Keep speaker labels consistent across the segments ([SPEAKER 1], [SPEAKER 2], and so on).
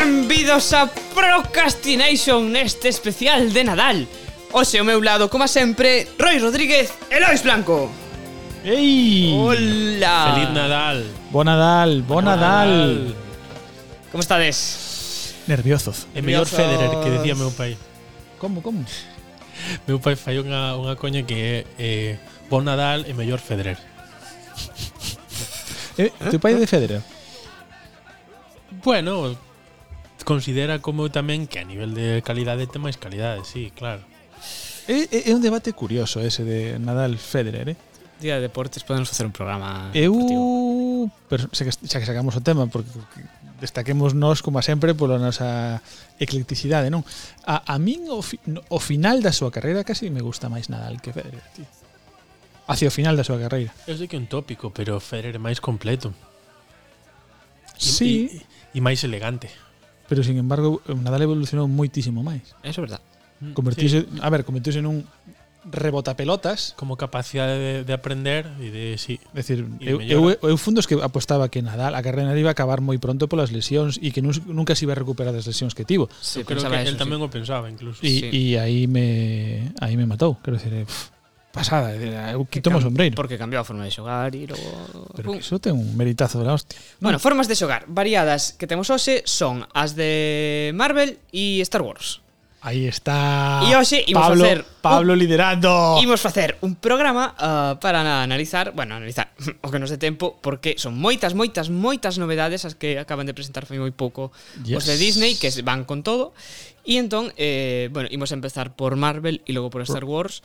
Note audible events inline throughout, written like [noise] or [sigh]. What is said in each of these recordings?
[SPEAKER 1] Benvidos a Procrastination neste especial de Nadal Oxe, ao meu lado, como sempre, Roy Rodríguez e Lois Blanco
[SPEAKER 2] Ei!
[SPEAKER 1] Hola
[SPEAKER 3] Feliz Nadal.
[SPEAKER 2] Bo Nadal, bo Nadal.
[SPEAKER 1] Como estades?
[SPEAKER 2] Nerviosos.
[SPEAKER 3] É mellor
[SPEAKER 1] Nerviosos.
[SPEAKER 3] Federer que decía meu pai.
[SPEAKER 2] Como, como?
[SPEAKER 3] Meu pai fai unha, unha coña que é eh, Bon Nadal e mellor Federer.
[SPEAKER 2] Eh, teu pai é de Federer.
[SPEAKER 3] Bueno, considera como eu tamén que a nivel de calidade ten máis calidade, sí, claro.
[SPEAKER 2] É, é, é Eh, un debate curioso ese de Nadal Federer, eh?
[SPEAKER 1] Día de deportes, podemos facer un programa
[SPEAKER 2] Ah,
[SPEAKER 1] deportivo.
[SPEAKER 2] Eu, pero xa que, xa que sacamos o tema porque destaquemos nós como a sempre pola nosa eclecticidade, non? A, a min o, fi, no- o final da súa carreira casi me gusta máis Nadal que Federer, tío. Hacia o final da súa carreira.
[SPEAKER 3] Eu sei que é un tópico, pero Federer é máis completo. E,
[SPEAKER 2] Sí,
[SPEAKER 3] E, e máis elegante.
[SPEAKER 2] pero sin embargo Nadal evolucionou moitísimo máis.
[SPEAKER 1] Eso é verdad
[SPEAKER 3] Mm,
[SPEAKER 2] Convertirse, sí. a ver, convertirse nun rebotapelotas,
[SPEAKER 3] sí, como capacidade de, de aprender e de sí.
[SPEAKER 2] É dicir,
[SPEAKER 3] E
[SPEAKER 2] eu, eu,
[SPEAKER 3] mellora.
[SPEAKER 2] eu fundos que apostaba que Nadal a carreira iba a acabar moi pronto polas lesións e que nun, nunca se iba a recuperar das lesións que tivo.
[SPEAKER 1] sí,
[SPEAKER 3] eu creo que él tamén o pensaba incluso.
[SPEAKER 2] E,
[SPEAKER 1] Sí.
[SPEAKER 2] e aí me aí me matou, quero dicir, eh, pff, pasada, eh, é dicir, eu quitome o sombreiro.
[SPEAKER 1] Porque cambiou a forma de xogar e logo...
[SPEAKER 2] Pero
[SPEAKER 1] Pum.
[SPEAKER 2] que iso ten un meritazo da hostia.
[SPEAKER 1] Bueno, formas de xogar variadas que temos hoxe son as de Marvel e Star Wars
[SPEAKER 2] Aí está
[SPEAKER 1] E hoxe imos
[SPEAKER 2] Pablo,
[SPEAKER 1] facer un-
[SPEAKER 2] Pablo liderando.
[SPEAKER 1] Imos facer un programa ah, para na- analizar, bueno, analizar [laughs] o que nos dé tempo porque son moitas, moitas, moitas novedades as que acaban de presentar foi moi pouco yes. os
[SPEAKER 2] Yes.
[SPEAKER 1] de Disney que se van con todo. E entón, eh, bueno, imos empezar por Marvel e logo por Star Wars.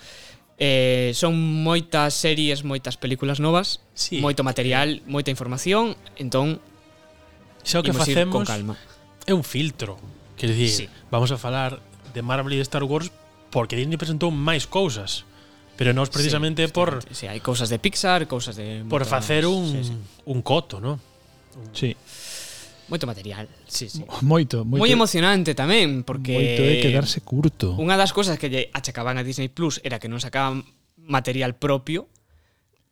[SPEAKER 1] Eh, son moitas series, moitas películas novas,
[SPEAKER 3] Sí.
[SPEAKER 1] moito material, moita información, entón
[SPEAKER 3] E Xa o que
[SPEAKER 1] imos ir con
[SPEAKER 3] facemos
[SPEAKER 1] calma.
[SPEAKER 3] é un filtro.
[SPEAKER 1] Sí.
[SPEAKER 3] Quer dicir, sí. vamos a falar de Marvel e de Star Wars porque Disney presentou máis cousas. Pero nós precisamente sí, por
[SPEAKER 1] Si, sí, hai cousas de Pixar, cousas de
[SPEAKER 3] por
[SPEAKER 1] moita-
[SPEAKER 3] facer un
[SPEAKER 1] sí, sí.
[SPEAKER 3] un coto, ¿no?
[SPEAKER 2] Sí,
[SPEAKER 1] moito material, sí, sí.
[SPEAKER 2] moito, moito.
[SPEAKER 1] Moi emocionante tamén, porque
[SPEAKER 2] Moito é quedarse curto.
[SPEAKER 1] unha das cousas que lle achacaban a Disney Plus era que non sacaban material propio,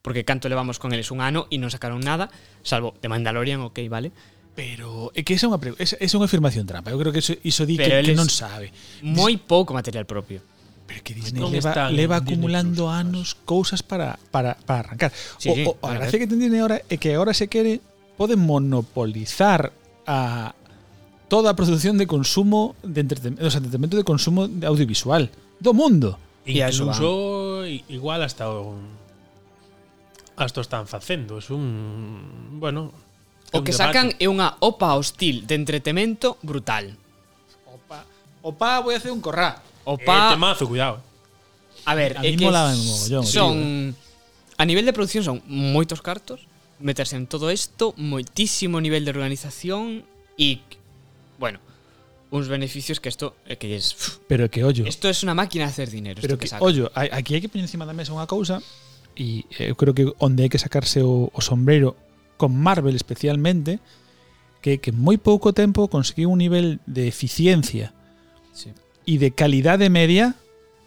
[SPEAKER 1] porque canto levamos con eles un ano e non sacaron nada, salvo de Mandalorian, ok, vale.
[SPEAKER 2] Pero é que esa é unha pregu- esa, esa é unha afirmación trampa. Eu creo que iso, iso di
[SPEAKER 1] Pero
[SPEAKER 2] que,
[SPEAKER 1] eles-
[SPEAKER 2] que non sabe.
[SPEAKER 1] Moi pouco material propio.
[SPEAKER 2] Pero que Disney
[SPEAKER 3] Non
[SPEAKER 2] leva,
[SPEAKER 3] están
[SPEAKER 2] leva
[SPEAKER 3] en Disney
[SPEAKER 2] acumulando
[SPEAKER 3] Plus,
[SPEAKER 2] anos cousas para, para, para arrancar.
[SPEAKER 1] Sí,
[SPEAKER 2] o,
[SPEAKER 1] sí,
[SPEAKER 2] o,
[SPEAKER 1] a
[SPEAKER 2] a
[SPEAKER 1] ver.
[SPEAKER 2] gracia que ten Disney ahora é que agora se quere pode monopolizar a toda a produción de consumo de entretenimento, o sea, entretenimento de consumo de audiovisual do mundo.
[SPEAKER 1] E a eso
[SPEAKER 3] Incluso i- igual hasta o hasta o están facendo, es un bueno, é
[SPEAKER 1] O
[SPEAKER 3] un
[SPEAKER 1] que
[SPEAKER 3] debate.
[SPEAKER 1] sacan é unha opa hostil de entretemento brutal.
[SPEAKER 2] Opa, opa, voy a hacer un corrá.
[SPEAKER 3] Eh,
[SPEAKER 1] Opa,
[SPEAKER 3] temazo, cuidado.
[SPEAKER 1] a ver,
[SPEAKER 2] A
[SPEAKER 1] é
[SPEAKER 2] mí
[SPEAKER 1] que
[SPEAKER 2] molaban un mogollón,
[SPEAKER 1] son a nivel de produción son moitos cartos, meterse en todo isto, moitísimo nivel de organización e bueno, uns beneficios que isto é que lles pff,
[SPEAKER 2] Pero que ollo,
[SPEAKER 1] Esto es una máquina de hacer dinero.
[SPEAKER 2] pero
[SPEAKER 1] esto que
[SPEAKER 2] que,
[SPEAKER 1] saca.
[SPEAKER 2] ollo, hai- aquí hai que poñer encima da mesa unha cousa e eu creo que onde hai que sacarse o, o sombrero con Marvel especialmente que que en moi pouco tempo conseguiu un nivel de eficiencia
[SPEAKER 1] Sí.
[SPEAKER 2] y de calidad de media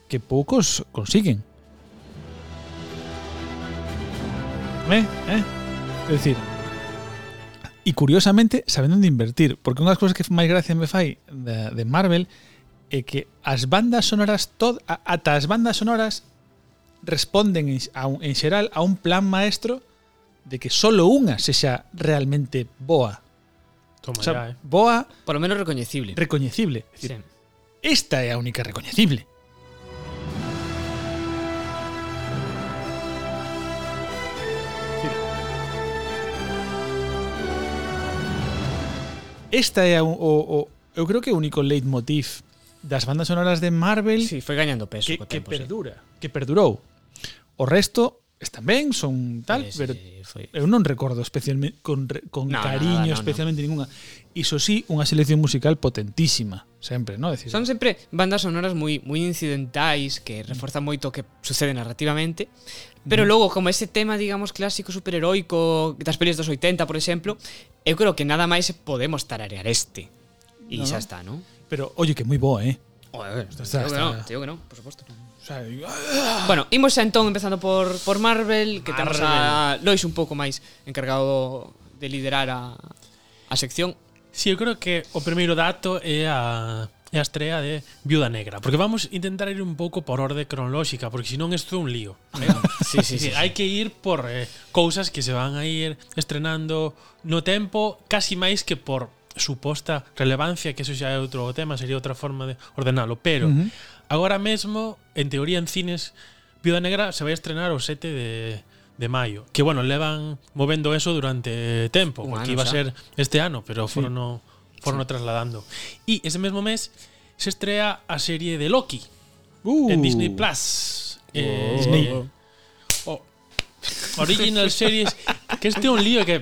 [SPEAKER 2] que pocos consiguen. ¿Eh? ¿Eh? Es decir, y curiosamente saben onde invertir, porque unha das cousas que máis gracia me fai de, de Marvel é que as bandas sonoras tod, a- ata as bandas sonoras responden en, a un, en xeral a un plan maestro de que solo unha sexa realmente boa. O
[SPEAKER 3] Toma ya,
[SPEAKER 2] sea,
[SPEAKER 3] eh.
[SPEAKER 2] boa,
[SPEAKER 1] Por lo menos recoñecible.
[SPEAKER 2] recoñecible. Es
[SPEAKER 1] Sí.
[SPEAKER 2] decir, Esta é a única recoñecible. Esta é a, un- o, o eu creo que é o único leitmotiv das bandas sonoras de Marvel
[SPEAKER 1] Sí, foi gañando peso
[SPEAKER 2] que,
[SPEAKER 1] co
[SPEAKER 2] que
[SPEAKER 1] tempo, sí.
[SPEAKER 2] perdura, que perdurou. O resto están ben, son tal,
[SPEAKER 1] Sí, sí,
[SPEAKER 2] pero
[SPEAKER 1] sí, foi-
[SPEAKER 2] eu non recordo especialmente con, re- con
[SPEAKER 1] No, no,
[SPEAKER 2] cariño
[SPEAKER 1] nada, no,
[SPEAKER 2] especialmente ninguna. Iso sí, unha selección musical potentísima, sempre, ¿no? Decir,
[SPEAKER 1] Son sempre bandas sonoras moi moi incidentais que reforzan moito o que sucede narrativamente, pero logo como ese tema, digamos, clásico superheroico das pelis dos 80, por exemplo, eu creo que nada máis podemos tararear este. E
[SPEAKER 2] No.
[SPEAKER 1] xa está, non?
[SPEAKER 2] Pero, oye, que moi boa, eh?
[SPEAKER 1] Joder, te
[SPEAKER 2] está,
[SPEAKER 1] digo que
[SPEAKER 2] está.
[SPEAKER 1] non, te digo que non, por suposto.
[SPEAKER 2] O sea,
[SPEAKER 1] Bueno, imos xa entón empezando por, por Marvel Que temos a
[SPEAKER 3] Marvel.
[SPEAKER 1] Lois un pouco máis encargado de liderar a, a sección
[SPEAKER 3] Si eu creo que o primeiro dato é a é a estrea de Viuda Negra, porque vamos intentar ir un pouco por orde cronolóxica, porque senón isto é un lío.
[SPEAKER 1] [laughs] Sí, sí, sí.
[SPEAKER 3] Sí, sí, hai que ir por eh, cousas que se van a ir estrenando no tempo, casi máis que por suposta relevancia, que eso xa é outro tema, sería outra forma de ordenalo, pero uh -huh. agora mesmo, en teoría en cines, Viuda Negra se vai estrenar o 7 de de maio, que bueno, levan movendo eso durante tempo,
[SPEAKER 1] Un
[SPEAKER 3] porque
[SPEAKER 1] ano
[SPEAKER 3] iba a
[SPEAKER 1] xa.
[SPEAKER 3] ser este ano, pero foron no foron no trasladando. E ese mesmo mes se estrea a serie de Loki
[SPEAKER 2] Uh.
[SPEAKER 3] en Disney Plus. Eh,
[SPEAKER 2] Disney.
[SPEAKER 3] o- Original Series Que este é un lío que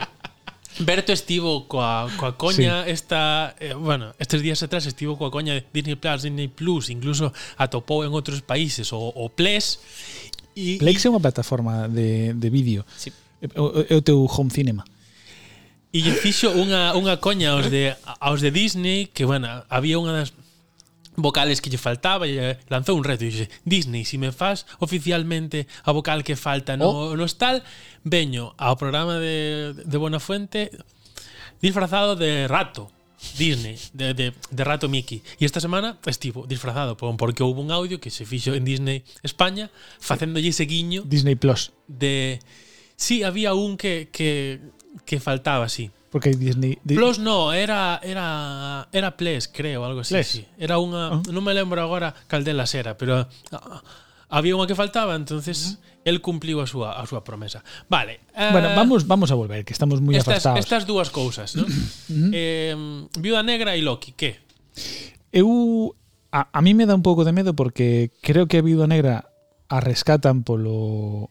[SPEAKER 3] Berto estivo coa, coa coña esta, eh, bueno, estes días atrás estivo coa coña de Disney Plus, Disney Plus, incluso atopou en outros países o, o Ples e,
[SPEAKER 2] Plex é unha plataforma de, de vídeo.
[SPEAKER 1] Sí.
[SPEAKER 2] É o- É o teu home cinema.
[SPEAKER 3] E lle fixo unha, unha coña aos de, aos de Disney que, bueno, había unha das vocales que lle faltaba e lle lanzou un reto e dixe, Disney, si me faz oficialmente a vocal que falta no, oh. no tal, veño ao programa de, de Buena Fuente disfrazado de rato Disney, de, de, de rato Mickey. E esta semana estivo disfrazado pon, porque houve un audio que se fixo en Disney España facéndolle ese guiño
[SPEAKER 2] Disney Plus.
[SPEAKER 3] de... Sí, había un que, que, que faltaba, sí.
[SPEAKER 2] Porque hai Disney... Di-
[SPEAKER 3] Plus no, era era era Ples, creo, algo así,
[SPEAKER 2] Ples. Ah.
[SPEAKER 3] sí. Era unha, non me lembro agora cal delas era, pero ah, había unha que faltaba, entonces el cumpliu a súa a súa promesa. Vale. eh,
[SPEAKER 2] Bueno, vamos, vamos a volver, que estamos moi
[SPEAKER 3] estas
[SPEAKER 2] afastados.
[SPEAKER 3] estas dúas cousas, ¿no? eh, Viuda Negra e Loki, que?
[SPEAKER 2] Eu a, a mí me dá un pouco de medo porque creo que a Viuda Negra a rescatan polo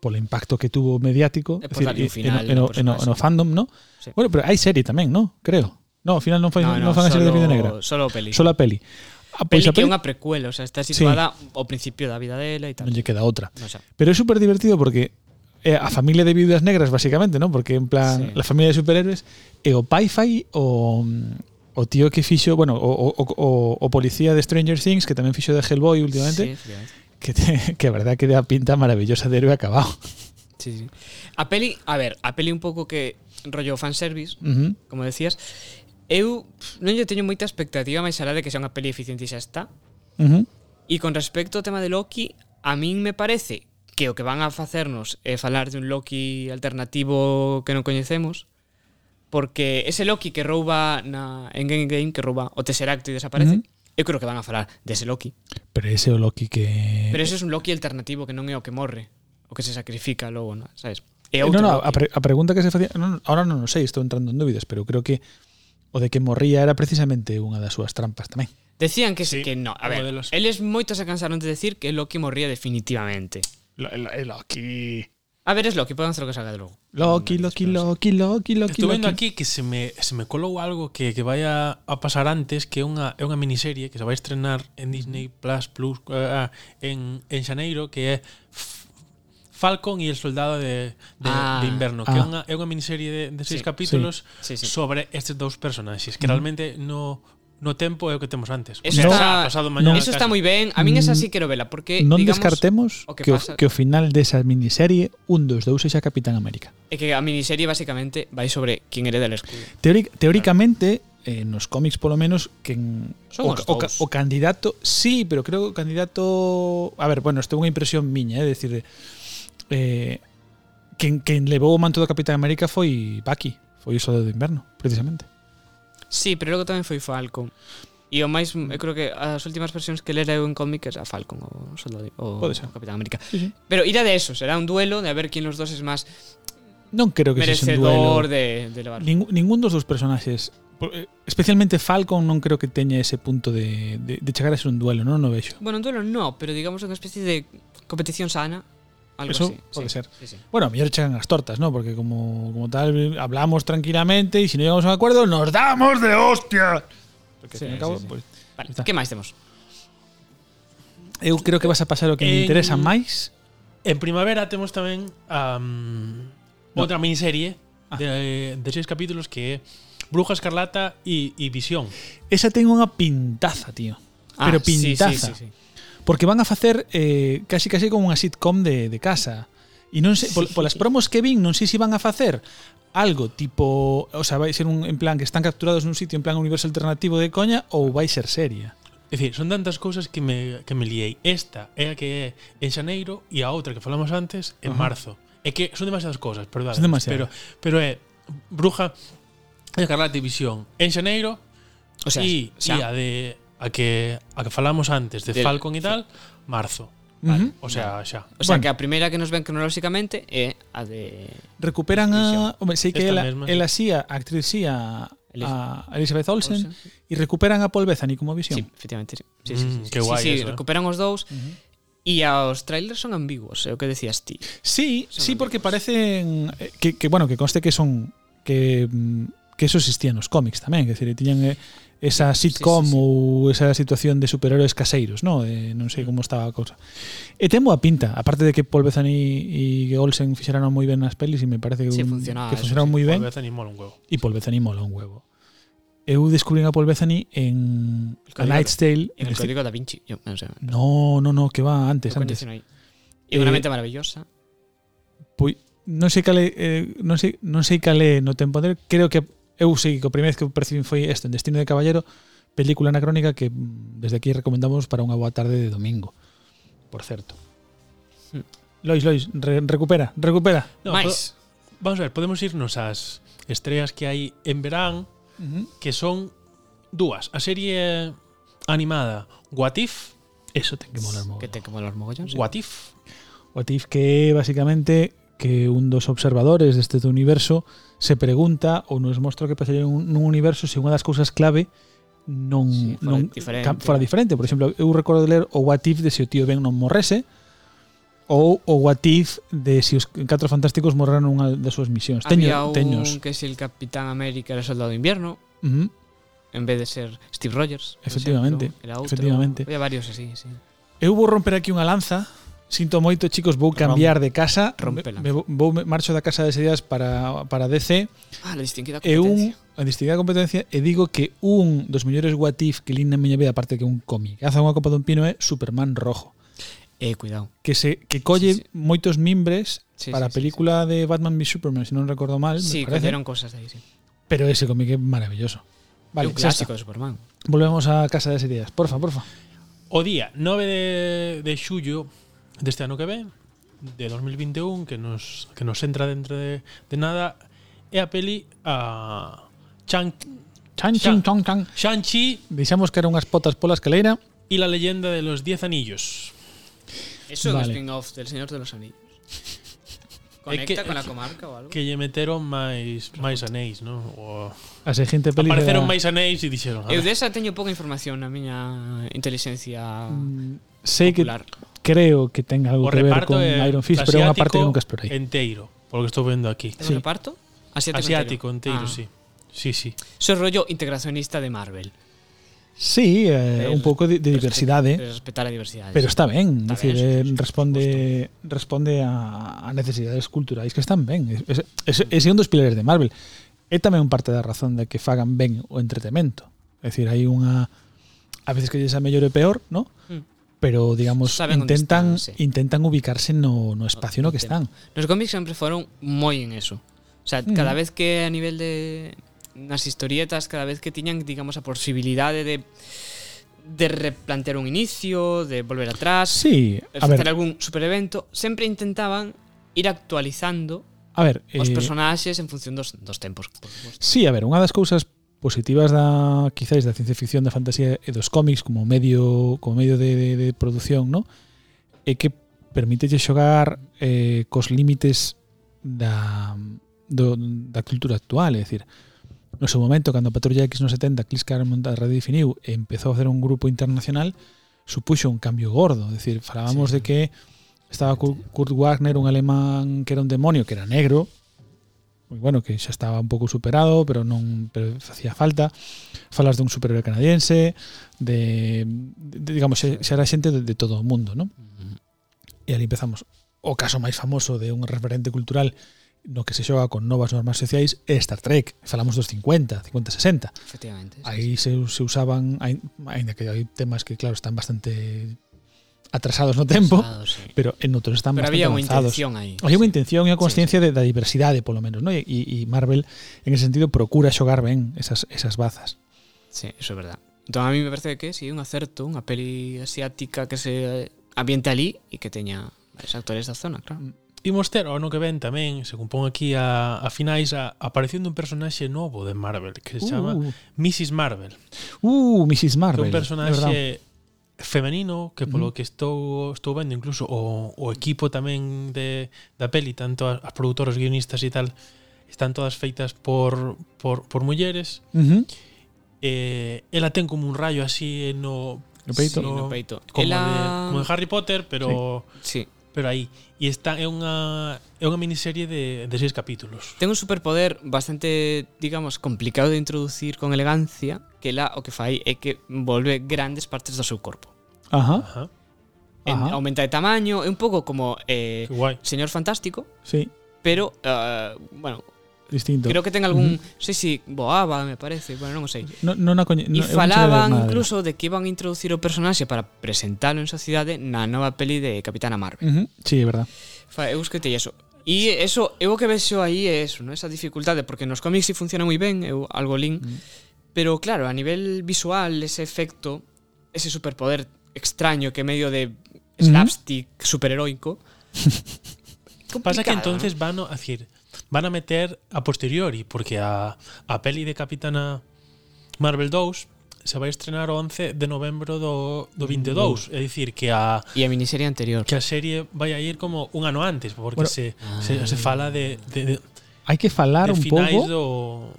[SPEAKER 2] polo impacto que tuvo mediático,
[SPEAKER 1] E
[SPEAKER 2] é
[SPEAKER 1] por darlle un
[SPEAKER 2] dicir,
[SPEAKER 1] final,
[SPEAKER 2] en, o-
[SPEAKER 1] por
[SPEAKER 2] en, o- en, o- en o
[SPEAKER 1] supuesto.
[SPEAKER 2] fandom, ¿no?
[SPEAKER 1] Sí.
[SPEAKER 2] Bueno, pero hai serie tamén, ¿no? Creo. No, ao final non foi Pois non fan a serie de Viuda Negra,
[SPEAKER 1] Solo peli.
[SPEAKER 2] só a peli. Ah,
[SPEAKER 1] peli
[SPEAKER 2] pois a
[SPEAKER 1] que é
[SPEAKER 2] peli
[SPEAKER 1] unha precuela, o sea, está situada ao principio da vida dela e tal.
[SPEAKER 2] non lle queda outra.
[SPEAKER 1] No, xa.
[SPEAKER 2] Pero é súper divertido porque é a familia de viudas negras, basicamente, ¿no? Porque en plan,
[SPEAKER 1] Sí.
[SPEAKER 2] la familia de superhéroes e o pai fai o o tío que fixo, bueno, o, o, o, o- o policía de Stranger Things que tamén fixo de
[SPEAKER 1] Sí,
[SPEAKER 2] Hellboy últimamente,
[SPEAKER 1] efectivamente.
[SPEAKER 2] que te, [laughs] que a verdad que da pinta maravillosa de héroe acabado.
[SPEAKER 1] Sí, sí. A peli, a ver, a peli un pouco que rollo fanservice,
[SPEAKER 2] Ujú.
[SPEAKER 1] como decías, eu pff, non lle teño moita expectativa máis alá de que sea unha peli eficiente e xa está.
[SPEAKER 2] Ujú.
[SPEAKER 1] E con respecto ao tema de Loki, a min me parece que o que van a facernos é falar de un Loki alternativo que non coñecemos, porque ese Loki que rouba na en Game Game que rouba o Tesseract e desaparece, eu creo que van a falar dese Loki.
[SPEAKER 2] Pero ese o Loki que
[SPEAKER 1] Pero ese é un Loki alternativo que non é o que morre, o que se sacrifica logo, na- sabes? É
[SPEAKER 2] Eh,
[SPEAKER 1] outro
[SPEAKER 2] no, no,
[SPEAKER 1] Loki.
[SPEAKER 2] a, pre- a pregunta que se facía, non, ahora non o sei, estou entrando en dúbidas, pero creo que o de que morría era precisamente unha das súas trampas tamén.
[SPEAKER 1] Decían que
[SPEAKER 3] Sí,
[SPEAKER 1] sí, que no. A
[SPEAKER 3] uno
[SPEAKER 1] ver,
[SPEAKER 3] de los-
[SPEAKER 1] eles moitos se cansaron de decir que Loki morría definitivamente.
[SPEAKER 2] Loki.
[SPEAKER 1] A ver, es Loki, podemos hacer lo que salga de logo.
[SPEAKER 2] Loki, Loki, Loki, Loki, Loki.
[SPEAKER 3] Estou vendo
[SPEAKER 2] Loki.
[SPEAKER 3] aquí que se me se me colou algo que que vai a, a pasar antes, que é unha é unha miniserie que se vai estrenar en Disney Plus Plus eh, ah, en en xaneiro que é F- Falcon e el soldado de, de,
[SPEAKER 1] Ah.
[SPEAKER 3] de inverno, que é
[SPEAKER 2] Ah.
[SPEAKER 3] unha é unha miniserie de, de
[SPEAKER 1] Sí.
[SPEAKER 3] seis capítulos
[SPEAKER 1] Sí, sí.
[SPEAKER 3] sobre estes dous personaxes, que realmente no no tempo é o que temos antes.
[SPEAKER 1] Eso,
[SPEAKER 2] No,
[SPEAKER 1] está,
[SPEAKER 3] pasado mañana
[SPEAKER 1] eso está
[SPEAKER 3] casi.
[SPEAKER 1] moi ben. A min esa sí
[SPEAKER 2] Mm,
[SPEAKER 1] quero vela, porque
[SPEAKER 2] non
[SPEAKER 1] digamos,
[SPEAKER 2] descartemos
[SPEAKER 1] o
[SPEAKER 2] que,
[SPEAKER 1] que
[SPEAKER 2] o,
[SPEAKER 1] pasa-
[SPEAKER 2] que o final desa miniserie un dos dous sexa Capitán América.
[SPEAKER 1] é que a miniserie basicamente vai sobre quen hereda el escudo.
[SPEAKER 2] Teori- teóricamente eh, nos cómics polo menos que en,
[SPEAKER 1] Son
[SPEAKER 2] o,
[SPEAKER 1] os
[SPEAKER 2] o, ca-
[SPEAKER 1] dous.
[SPEAKER 2] o candidato sí, pero creo que o candidato a ver, bueno, isto é unha impresión miña, é eh, decir eh, quen, quen levou o manto do Capitán América foi Bucky, foi o soldado de inverno, precisamente.
[SPEAKER 1] Sí, pero logo tamén foi Falcon. E o máis, eu creo que as últimas versións que lera eu en cómic era Falcon o soldado o,
[SPEAKER 2] Pode ser.
[SPEAKER 1] o Capitán América.
[SPEAKER 2] Sí, sí.
[SPEAKER 1] Pero irá de eso, será un duelo de a ver quién los dos es más
[SPEAKER 2] Non creo que sexa un
[SPEAKER 1] merecedor
[SPEAKER 2] duelo.
[SPEAKER 1] de, de levar.
[SPEAKER 2] Ningú- ningún dos dos personaxes por- eh, especialmente Falcon non creo que teña ese punto de, de, de chegar a ser un duelo non o vexo
[SPEAKER 1] Bueno, un duelo no, pero digamos unha especie de competición sana, algo
[SPEAKER 2] Eso
[SPEAKER 1] así.
[SPEAKER 2] pode
[SPEAKER 1] sí,
[SPEAKER 2] ser.
[SPEAKER 1] Sí, sí.
[SPEAKER 2] bueno, a mellor chegan as tortas, non? porque como, como tal eh, hablamos tranquilamente e se non llegamos a un acuerdo nos damos de hostia porque
[SPEAKER 1] Sí,
[SPEAKER 2] sí, cabo,
[SPEAKER 1] sí, sí.
[SPEAKER 2] Pues,
[SPEAKER 1] Vale,
[SPEAKER 2] Está.
[SPEAKER 1] que máis temos?
[SPEAKER 2] eu creo que vas a pasar o que me
[SPEAKER 3] En-
[SPEAKER 2] interesa máis
[SPEAKER 3] En primavera temos tamén um,
[SPEAKER 2] No.
[SPEAKER 3] outra miniserie
[SPEAKER 1] Ah.
[SPEAKER 3] de, de seis capítulos que é Bruja Escarlata e, e Visión.
[SPEAKER 2] esa ten unha pintaza, tío pero
[SPEAKER 1] Ah, sí, sí,
[SPEAKER 2] pintaza
[SPEAKER 1] sí, sí.
[SPEAKER 2] porque van a facer eh, casi casi como unha sitcom de, de casa E non sei, pol, polas promos que vin, non sei se van a facer algo tipo, o sea, vai ser un en plan que están capturados nun sitio en plan universo alternativo de coña ou vai ser seria.
[SPEAKER 3] É dicir, son tantas cousas que me, que me liei. Esta é a que é en xaneiro e a outra que falamos antes en
[SPEAKER 2] Ajá.
[SPEAKER 3] marzo. É que son demasiadas cousas, perdón.
[SPEAKER 2] Son demasiadas.
[SPEAKER 3] Pero, pero é Bruja Escarlate e Visión en xaneiro
[SPEAKER 1] O sea,
[SPEAKER 3] e,
[SPEAKER 1] xa.
[SPEAKER 3] e a de a que a que falamos antes de
[SPEAKER 1] Del-
[SPEAKER 3] Falcon e tal, marzo.
[SPEAKER 2] Vale.
[SPEAKER 3] O sea, xa.
[SPEAKER 1] O sea,
[SPEAKER 2] Bueno.
[SPEAKER 1] que a primeira que nos ven cronolóxicamente é a de
[SPEAKER 2] Recuperan a, hombre, sei que
[SPEAKER 3] Esta
[SPEAKER 2] ela,
[SPEAKER 3] mesma.
[SPEAKER 2] ela sí, a actriz sí, a, a
[SPEAKER 1] Elizabeth
[SPEAKER 2] Elizabeth
[SPEAKER 1] Olsen.
[SPEAKER 2] Olsen, e recuperan a Paul Bethany como
[SPEAKER 1] Sí,
[SPEAKER 2] visión.
[SPEAKER 1] efectivamente. Sí, sí, sí,
[SPEAKER 3] Mm,
[SPEAKER 1] sí.
[SPEAKER 3] qué
[SPEAKER 1] Sí,
[SPEAKER 3] guai
[SPEAKER 1] sí,
[SPEAKER 3] eso, eh.
[SPEAKER 1] recuperan os dous. E os trailers son ambiguos, é o que decías ti.
[SPEAKER 2] Sí,
[SPEAKER 1] Son
[SPEAKER 2] sí, porque
[SPEAKER 1] amigos.
[SPEAKER 2] parecen eh, que, que bueno, que conste que son que mm, que eso existía nos cómics tamén, que decir, tiñan eh, esa sitcom
[SPEAKER 1] sí, sí.
[SPEAKER 2] ou esa situación de superhéroes caseiros, no, eh, non sei como estaba a cousa. E ten boa pinta, aparte de que Paul Bethany e Olsen fixeran moi ben nas pelis e me parece que,
[SPEAKER 1] Sí,
[SPEAKER 2] un-
[SPEAKER 1] funcionaba
[SPEAKER 2] que
[SPEAKER 1] eso,
[SPEAKER 2] funcionaron moi ben
[SPEAKER 3] Ben. Bethany mola un huevo.
[SPEAKER 2] e Paul Bethany mola un huevo. Eu descubrín a Paul Bethany en
[SPEAKER 1] El
[SPEAKER 2] A
[SPEAKER 1] Código-
[SPEAKER 2] Knight's Tale.
[SPEAKER 1] En
[SPEAKER 2] en
[SPEAKER 1] el
[SPEAKER 2] este-
[SPEAKER 1] código da Vinci. Yo, o sea,
[SPEAKER 2] No, no, no, que va antes,
[SPEAKER 1] lo
[SPEAKER 2] antes.
[SPEAKER 1] condiciono ahí. E unha
[SPEAKER 2] Eh,
[SPEAKER 1] mente maravillosa.
[SPEAKER 2] Pois non sei cal é, eh, non sei, non sei cal é no tempo anterior, creo que eu sei que a primeira vez que o percibín foi isto en Destino de Caballero, película anacrónica que mm, desde aquí recomendamos para unha boa tarde de domingo. Por certo.
[SPEAKER 1] Hmm.
[SPEAKER 2] Lois, Lois, re, recupera, recupera.
[SPEAKER 3] No,
[SPEAKER 1] Mais.
[SPEAKER 3] po- vamos a ver, podemos irnos ás estreas que hai en verán que son dúas. A serie animada What If,
[SPEAKER 2] Eso ten que molar mogollón.
[SPEAKER 1] Que ten que molar mogollón. sí.
[SPEAKER 3] What If,
[SPEAKER 2] O Tiff que é basicamente que un dos observadores deste do universo se pregunta ou nos mostra o que pasaría nun nun universo se unha das cousas clave non,
[SPEAKER 1] Sí, fora
[SPEAKER 2] non
[SPEAKER 1] diferente.
[SPEAKER 2] ca- fora diferente. Por exemplo, eu recordo de ler o What If de se o tío Ben non morrese ou o What If de se os catro fantásticos morreran nunha das súas misións. Teño,
[SPEAKER 1] Había un
[SPEAKER 2] teños.
[SPEAKER 1] que si el Capitán América era soldado de invierno,
[SPEAKER 2] Ujú.
[SPEAKER 1] en vez de ser Steve Rogers. por
[SPEAKER 2] Efectivamente,
[SPEAKER 1] ejemplo, era outro.
[SPEAKER 2] efectivamente.
[SPEAKER 1] Había varios así, sí.
[SPEAKER 2] Eu vou romper aquí unha lanza. Sinto moito, chicos, vou cambiar de casa.
[SPEAKER 1] Rómpela.
[SPEAKER 2] Me, me, vou, me marcho da casa de Serias para, para DC.
[SPEAKER 1] Ah, la distinguida
[SPEAKER 2] e un
[SPEAKER 1] competencia.
[SPEAKER 2] a distinguida competencia e digo que un dos mellores what if que lin na miña vida aparte que un cómic haza unha copa dun pino é Superman Rojo
[SPEAKER 1] Eh, cuidado.
[SPEAKER 2] que se que colle
[SPEAKER 1] Sí, sí.
[SPEAKER 2] moitos mimbres
[SPEAKER 1] Sí, sí,
[SPEAKER 2] para a
[SPEAKER 1] sí,
[SPEAKER 2] película de Batman v Superman se non recordo mal
[SPEAKER 1] Sí,
[SPEAKER 2] me parece
[SPEAKER 1] cogieron cosas de ahí, sí.
[SPEAKER 2] pero ese cómic é maravilloso
[SPEAKER 1] Vale,
[SPEAKER 2] vale
[SPEAKER 1] un
[SPEAKER 2] xa
[SPEAKER 1] clásico de
[SPEAKER 2] está.
[SPEAKER 1] Superman.
[SPEAKER 2] volvemos a casa de series porfa porfa
[SPEAKER 3] o día 9 de, de xullo deste ano que ven, de 2021, e que nos, que nos entra dentro de, de nada, é a peli a Shang-
[SPEAKER 2] chan
[SPEAKER 3] Xa.
[SPEAKER 2] chin chong chan
[SPEAKER 3] Shang-Chi
[SPEAKER 2] deixamos caer unhas potas pola escaleira
[SPEAKER 3] y la leyenda de los 10 anillos.
[SPEAKER 1] Eso
[SPEAKER 2] Vale.
[SPEAKER 1] es un spin-off del Señor de los
[SPEAKER 2] [laughs]
[SPEAKER 1] Anillos. Conecta
[SPEAKER 3] que-
[SPEAKER 1] con
[SPEAKER 2] eh,
[SPEAKER 1] la comarca o algo.
[SPEAKER 3] Que lle meteron máis máis anéis, non? O...
[SPEAKER 2] a seguinte peli
[SPEAKER 3] Apareceron
[SPEAKER 2] da-
[SPEAKER 3] máis anéis e dixeron, "Ah,
[SPEAKER 1] Eu desa Eh, teño pouca información na miña inteligencia
[SPEAKER 2] sei Mm. que
[SPEAKER 1] popular.
[SPEAKER 2] creo que ten algo
[SPEAKER 3] o
[SPEAKER 2] que ver
[SPEAKER 3] reparto
[SPEAKER 2] con
[SPEAKER 3] é
[SPEAKER 2] Iron Fist pero é unha parte que
[SPEAKER 3] asiático
[SPEAKER 2] nunca explorei
[SPEAKER 3] Enteiro, polo que estou vendo aquí.
[SPEAKER 1] ¿Es
[SPEAKER 2] Sí.
[SPEAKER 1] un reparto? Asiático,
[SPEAKER 3] Asiático enteiro,
[SPEAKER 1] Ah.
[SPEAKER 3] sí. Sí, sí.
[SPEAKER 1] Eso es rollo integracionista de Marvel.
[SPEAKER 2] Sí, eh,
[SPEAKER 1] El- eh,
[SPEAKER 2] un pouco de, de
[SPEAKER 1] Respe-
[SPEAKER 2] diversidade,
[SPEAKER 1] de Respetar a diversidade.
[SPEAKER 2] pero está ben,
[SPEAKER 1] Está
[SPEAKER 2] está decir,
[SPEAKER 1] ben, sí,
[SPEAKER 2] eh,
[SPEAKER 1] sí, sí,
[SPEAKER 2] responde responde a, a necesidades culturais que están ben. Ese es, es, é un dos pilares de Marvel. É tamén parte da razón de que fagan ben o entretemento. É dicir, hai unha a veces que lles a mellor e peor, ¿no?
[SPEAKER 1] Mm.
[SPEAKER 2] Pero digamos
[SPEAKER 1] Saben onde
[SPEAKER 2] intentan
[SPEAKER 1] están, sí.
[SPEAKER 2] intentan ubicarse no, no espacio no que
[SPEAKER 1] Entendo.
[SPEAKER 2] están.
[SPEAKER 1] Los cómics siempre fueron muy en eso. O sea,
[SPEAKER 2] Ujú.
[SPEAKER 1] cada vez que a nivel de las historietas, cada vez que tenían, digamos, a posibilidad de, de replantear un inicio, de volver atrás,
[SPEAKER 2] Sí, a
[SPEAKER 1] hacer
[SPEAKER 2] ver,
[SPEAKER 1] algún super evento, siempre intentaban ir actualizando
[SPEAKER 2] a ver,
[SPEAKER 1] los
[SPEAKER 2] eh,
[SPEAKER 1] personajes en función de los tempos, por supuesto.
[SPEAKER 2] Sí, a ver, unha das cousas positivas da quizáis da ciencia ficción, da fantasía e dos cómics como medio como medio de, de, de produción, ¿no? É que permítelle xogar eh, cos límites da, do, da cultura actual, é dicir, no seu momento, cando a Patrulla X no 70 Chris Claremont a redefiniu e empezou a facer un grupo internacional, supuxo un cambio gordo, é dicir, falábamos de que estaba Kur- Kurt Wagner, un alemán que era un demonio, que era negro, moi bueno, que xa estaba un pouco superado, pero non pero facía falta. Falas dun superhéroe canadiense, de, de digamos, xa, xa era xente de, de todo o mundo, non? E ali empezamos o caso máis famoso de un referente cultural no que se xoga con novas normas sociais é Star Trek. Falamos dos 50, 50, 60.
[SPEAKER 1] Efectivamente. sí.
[SPEAKER 2] Aí se, se usaban, ain- aínda que hai temas que, claro, están bastante atrasados no tempo,
[SPEAKER 1] Atrasados, sí.
[SPEAKER 2] pero en outros están
[SPEAKER 1] Pero
[SPEAKER 2] bastante
[SPEAKER 1] había unha
[SPEAKER 2] avanzados.
[SPEAKER 1] intención aí.
[SPEAKER 2] Hai unha intención e unha consciencia de, da diversidade, polo menos, ¿no? e, e, e Marvel, en ese sentido, procura xogar ben esas, esas bazas.
[SPEAKER 1] Sí, eso es verdad. Entonces a mí me parece que sí, un acerto, unha peli asiática que se ambiente ali e que teña varios actores da zona, claro.
[SPEAKER 3] Imos ter o ano que ven tamén, se compón aquí a, a finais, a, apareciendo un personaxe novo de Marvel que se chama
[SPEAKER 2] Uh.
[SPEAKER 3] Mrs. Marvel.
[SPEAKER 2] Uh, Mrs.
[SPEAKER 3] Que é
[SPEAKER 2] Marvel. de
[SPEAKER 3] un
[SPEAKER 2] verdad.
[SPEAKER 3] personaxe femenino que polo que estou estou vendo incluso o, o equipo tamén de da peli, tanto as, as produtoras, guionistas e tal, están todas feitas por por por mulleres.
[SPEAKER 2] Ujú.
[SPEAKER 3] Eh, ela ten como un rayo así no
[SPEAKER 2] No peito.
[SPEAKER 1] Sí,
[SPEAKER 3] no-
[SPEAKER 1] no peito.
[SPEAKER 3] Como,
[SPEAKER 1] Ela-
[SPEAKER 3] de, como de Harry Potter, pero
[SPEAKER 1] Sí.
[SPEAKER 3] pero aí e está é unha é unha miniserie de, de seis capítulos.
[SPEAKER 1] Ten un superpoder bastante, digamos, complicado de introducir con elegancia, que la o que fai é que volve grandes partes do seu corpo.
[SPEAKER 2] Ajá,
[SPEAKER 3] Ajá.
[SPEAKER 1] En,
[SPEAKER 2] Ajá.
[SPEAKER 1] aumenta de tamaño, é un pouco como eh,
[SPEAKER 3] Que guai.
[SPEAKER 1] Señor Fantástico,
[SPEAKER 2] sí,
[SPEAKER 1] pero, eh, bueno,
[SPEAKER 2] distinto.
[SPEAKER 1] creo que ten algún... Sí, sí, boaba, me parece, bueno, non sei.
[SPEAKER 2] No, non a coñe,
[SPEAKER 1] E
[SPEAKER 2] non- eu non cheguei a ver
[SPEAKER 1] falaban
[SPEAKER 2] nada delas.
[SPEAKER 1] incluso de que iban a introducir o personaxe para presentalo en sociedade na nova peli de Capitana Marvel.
[SPEAKER 2] Ujú, Sí, é verdad.
[SPEAKER 1] Fa, eu escritei eso. E eso, eu o que vexo aí é eso, ¿no? esa dificultade, porque nos cómics si funciona moi ben, eu algo lin,
[SPEAKER 3] Mm.
[SPEAKER 1] pero claro, a nivel visual, ese efecto, ese superpoder extraño que medio
[SPEAKER 3] Mm.
[SPEAKER 1] de slapstick superheroico,
[SPEAKER 3] [laughs] Pasa que
[SPEAKER 1] complicado,
[SPEAKER 3] entonces van a a decir, van a meter a posteriori, porque a, a peli de Capitana Marvel 2 se vai estrenar o 11 de novembro do, do
[SPEAKER 1] Mm.
[SPEAKER 3] 22, é dicir que a
[SPEAKER 1] ¿no? e a miniserie anterior.
[SPEAKER 3] que a serie vai a ir como un ano antes, porque
[SPEAKER 2] Bueno.
[SPEAKER 3] se, se se fala de de, de,
[SPEAKER 2] Hai que falar
[SPEAKER 3] de
[SPEAKER 2] un
[SPEAKER 3] finais
[SPEAKER 2] pouco
[SPEAKER 3] do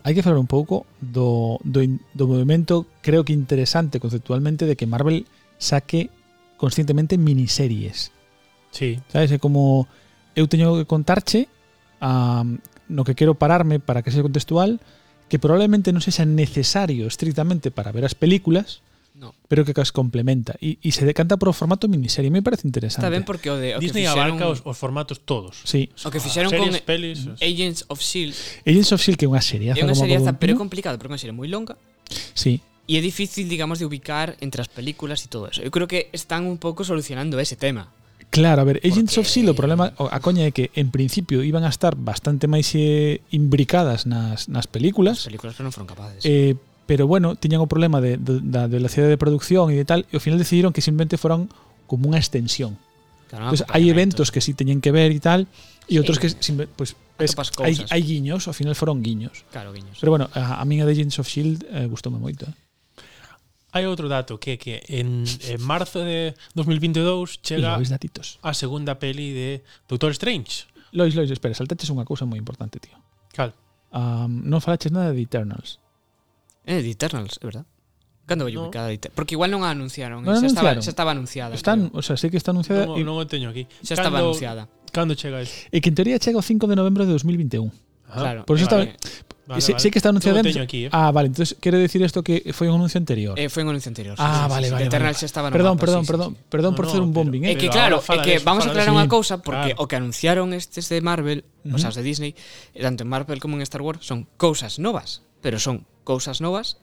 [SPEAKER 2] hai que falar un pouco do, do, in- do movimento creo que interesante conceptualmente de que Marvel saque conscientemente miniseries.
[SPEAKER 3] Sí,
[SPEAKER 2] Sabes? É como eu teño que contarche a, no que quero pararme para que sea contextual que probablemente non sexa necesario estrictamente para ver as películas
[SPEAKER 1] No,
[SPEAKER 2] pero que as complementa e, e se decanta por o formato miniserie me parece interesante
[SPEAKER 1] está ben porque o de o que
[SPEAKER 3] Disney
[SPEAKER 1] fixeron,
[SPEAKER 3] abarca os, os formatos todos.
[SPEAKER 2] Sí.
[SPEAKER 1] o que fixeron con
[SPEAKER 3] series, pelis,
[SPEAKER 1] Agents of S.H.I.E.L.D.
[SPEAKER 2] Agents of S.H.I.E.L.D. que é unha serie
[SPEAKER 1] é unha serie aza, pero é complicado, porque é unha serie moi longa,
[SPEAKER 2] Sí,
[SPEAKER 1] Y es difícil, digamos, de ubicar entre las películas y todo eso. Yo creo que están un poco solucionando ese tema.
[SPEAKER 2] Claro, a ver, Agents
[SPEAKER 1] Porque-
[SPEAKER 2] of S.H.I.E.L.D. o problema, o- a coña é que en principio iban a estar bastante máis eh, imbricadas nas, nas
[SPEAKER 1] Las
[SPEAKER 2] películas,
[SPEAKER 1] películas pero no fueron capaces.
[SPEAKER 2] eh, pero bueno, tiñan o problema de, de, da velocidade de producción e de tal, e ao final decidieron que simplemente foron como unha extensión.
[SPEAKER 1] Claro,
[SPEAKER 3] Ah,
[SPEAKER 2] Entón, hai pues eventos que sí teñen que ver e tal, e outros que simple, pues, ves,
[SPEAKER 1] atopas
[SPEAKER 2] hai,
[SPEAKER 1] cousas.
[SPEAKER 2] hai guiños, ao final foron guiños.
[SPEAKER 1] Claro, guiños.
[SPEAKER 2] Pero bueno, a, a min a de Agents of S.H.I.E.L.D. eh, gustoume moito. Eh.
[SPEAKER 3] Hai outro dato que é que en, en marzo de 2022
[SPEAKER 2] E
[SPEAKER 3] chega
[SPEAKER 2] Lois datitos.
[SPEAKER 3] a segunda peli de Doctor Strange.
[SPEAKER 2] Lois, Lois, espera, saltaches unha cousa moi importante, tío.
[SPEAKER 3] Cal.
[SPEAKER 2] Um, non falaches nada de Eternals.
[SPEAKER 1] Eh, de Eternals, es verdad. Cando voy
[SPEAKER 3] No.
[SPEAKER 1] ubicada de Eter- Porque igual no la anunciaron.
[SPEAKER 2] Non a
[SPEAKER 1] eh, xa,
[SPEAKER 2] anunciaron.
[SPEAKER 1] Estaba, xa estaba anunciada.
[SPEAKER 2] Está,
[SPEAKER 1] creo.
[SPEAKER 2] o sea, sei que está anunciada
[SPEAKER 3] Non,
[SPEAKER 2] e,
[SPEAKER 3] non o teño aquí.
[SPEAKER 1] Xa estaba
[SPEAKER 3] Cando-
[SPEAKER 1] anunciada.
[SPEAKER 3] Cando chega iso?
[SPEAKER 2] e que en teoría chega o 5 de novembro de 2021.
[SPEAKER 1] Claro.
[SPEAKER 2] Ah, por
[SPEAKER 1] eh,
[SPEAKER 2] eso estaba- e
[SPEAKER 3] vale,
[SPEAKER 2] sei,
[SPEAKER 3] vale.
[SPEAKER 2] sei que está anunciada.
[SPEAKER 3] Non o
[SPEAKER 2] antes-
[SPEAKER 3] teño aquí, eh.
[SPEAKER 2] Ah, vale, entonces quiere decir esto que foi un anuncio anterior.
[SPEAKER 1] eh, fue en un anuncio anterior. sí, sí,
[SPEAKER 2] ah,
[SPEAKER 1] sí,
[SPEAKER 2] vale,
[SPEAKER 1] sí.
[SPEAKER 2] vale.
[SPEAKER 1] De Eternals xa
[SPEAKER 2] vale.
[SPEAKER 1] estaba no
[SPEAKER 2] Perdón,
[SPEAKER 1] mapa,
[SPEAKER 2] perdón,
[SPEAKER 1] sí, sí,
[SPEAKER 2] perdón,
[SPEAKER 1] sí.
[SPEAKER 2] perdón
[SPEAKER 3] No,
[SPEAKER 2] por
[SPEAKER 3] no,
[SPEAKER 2] hacer un
[SPEAKER 3] pero-
[SPEAKER 2] bombing,
[SPEAKER 1] É
[SPEAKER 2] eh.
[SPEAKER 1] que
[SPEAKER 3] Pero
[SPEAKER 1] claro,
[SPEAKER 3] ahora fala
[SPEAKER 1] é que
[SPEAKER 3] de eso,
[SPEAKER 1] vamos a
[SPEAKER 3] fala de
[SPEAKER 1] aclarar
[SPEAKER 2] eso.
[SPEAKER 1] unha
[SPEAKER 2] Sí.
[SPEAKER 1] cousa porque
[SPEAKER 3] Claro.
[SPEAKER 1] o que anunciaron estes de Marvel,
[SPEAKER 2] Ujú.
[SPEAKER 1] os as de Disney, e tanto en Marvel como en Star Wars son cousas novas, pero son cousas novas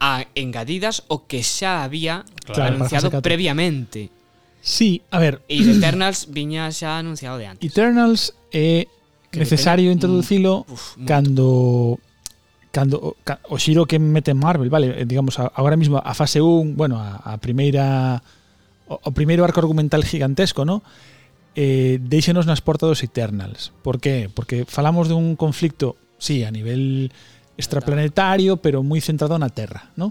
[SPEAKER 1] a engadidas o que xa había
[SPEAKER 3] Claro,
[SPEAKER 1] anunciado
[SPEAKER 2] para sacar-
[SPEAKER 1] previamente.
[SPEAKER 2] Sí, a ver,
[SPEAKER 1] E de Eternals viña xa anunciado de antes.
[SPEAKER 2] Eternals é
[SPEAKER 1] Que Mm.
[SPEAKER 2] necesario
[SPEAKER 1] teña-
[SPEAKER 2] introducilo
[SPEAKER 1] Uf,
[SPEAKER 2] cando cando o- ca- o xiro que mete Marvel, vale, eh, digamos a- agora mismo a fase 1, bueno, a, a primeira o, o primeiro arco argumental gigantesco, ¿no? Eh, deixenos nas portas dos Eternals. Por qué? Porque falamos dun conflicto, sí, a nivel extraplanetario, pero moi centrado na Terra, ¿no?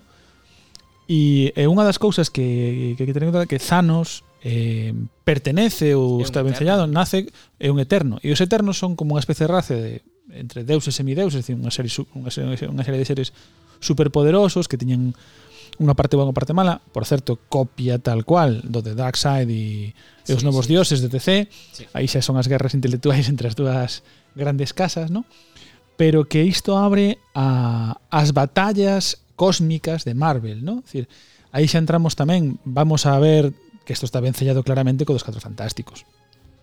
[SPEAKER 2] E é unha das cousas que que, que tener en conta é que Thanos eh, pertenece
[SPEAKER 1] É un
[SPEAKER 2] ou está
[SPEAKER 1] eterno.
[SPEAKER 2] vencellado, nace é un eterno. E os eternos son como unha especie de raza de entre deuses e semideuses, é dicir, unha serie su- unha serie, unha serie de seres superpoderosos que tiñan unha parte boa e unha parte mala, por certo, copia tal cual do de Darkseid e, e
[SPEAKER 1] Sí,
[SPEAKER 2] os novos
[SPEAKER 1] sí.
[SPEAKER 2] dioses de DC.
[SPEAKER 1] Sí.
[SPEAKER 2] Aí xa son as guerras intelectuais [laughs] entre as dúas grandes casas, ¿no? Pero que isto abre a as batallas cósmicas de Marvel, ¿no? Es decir, aí xa entramos tamén, vamos a ver que isto está ben sellado claramente co dos catro fantásticos.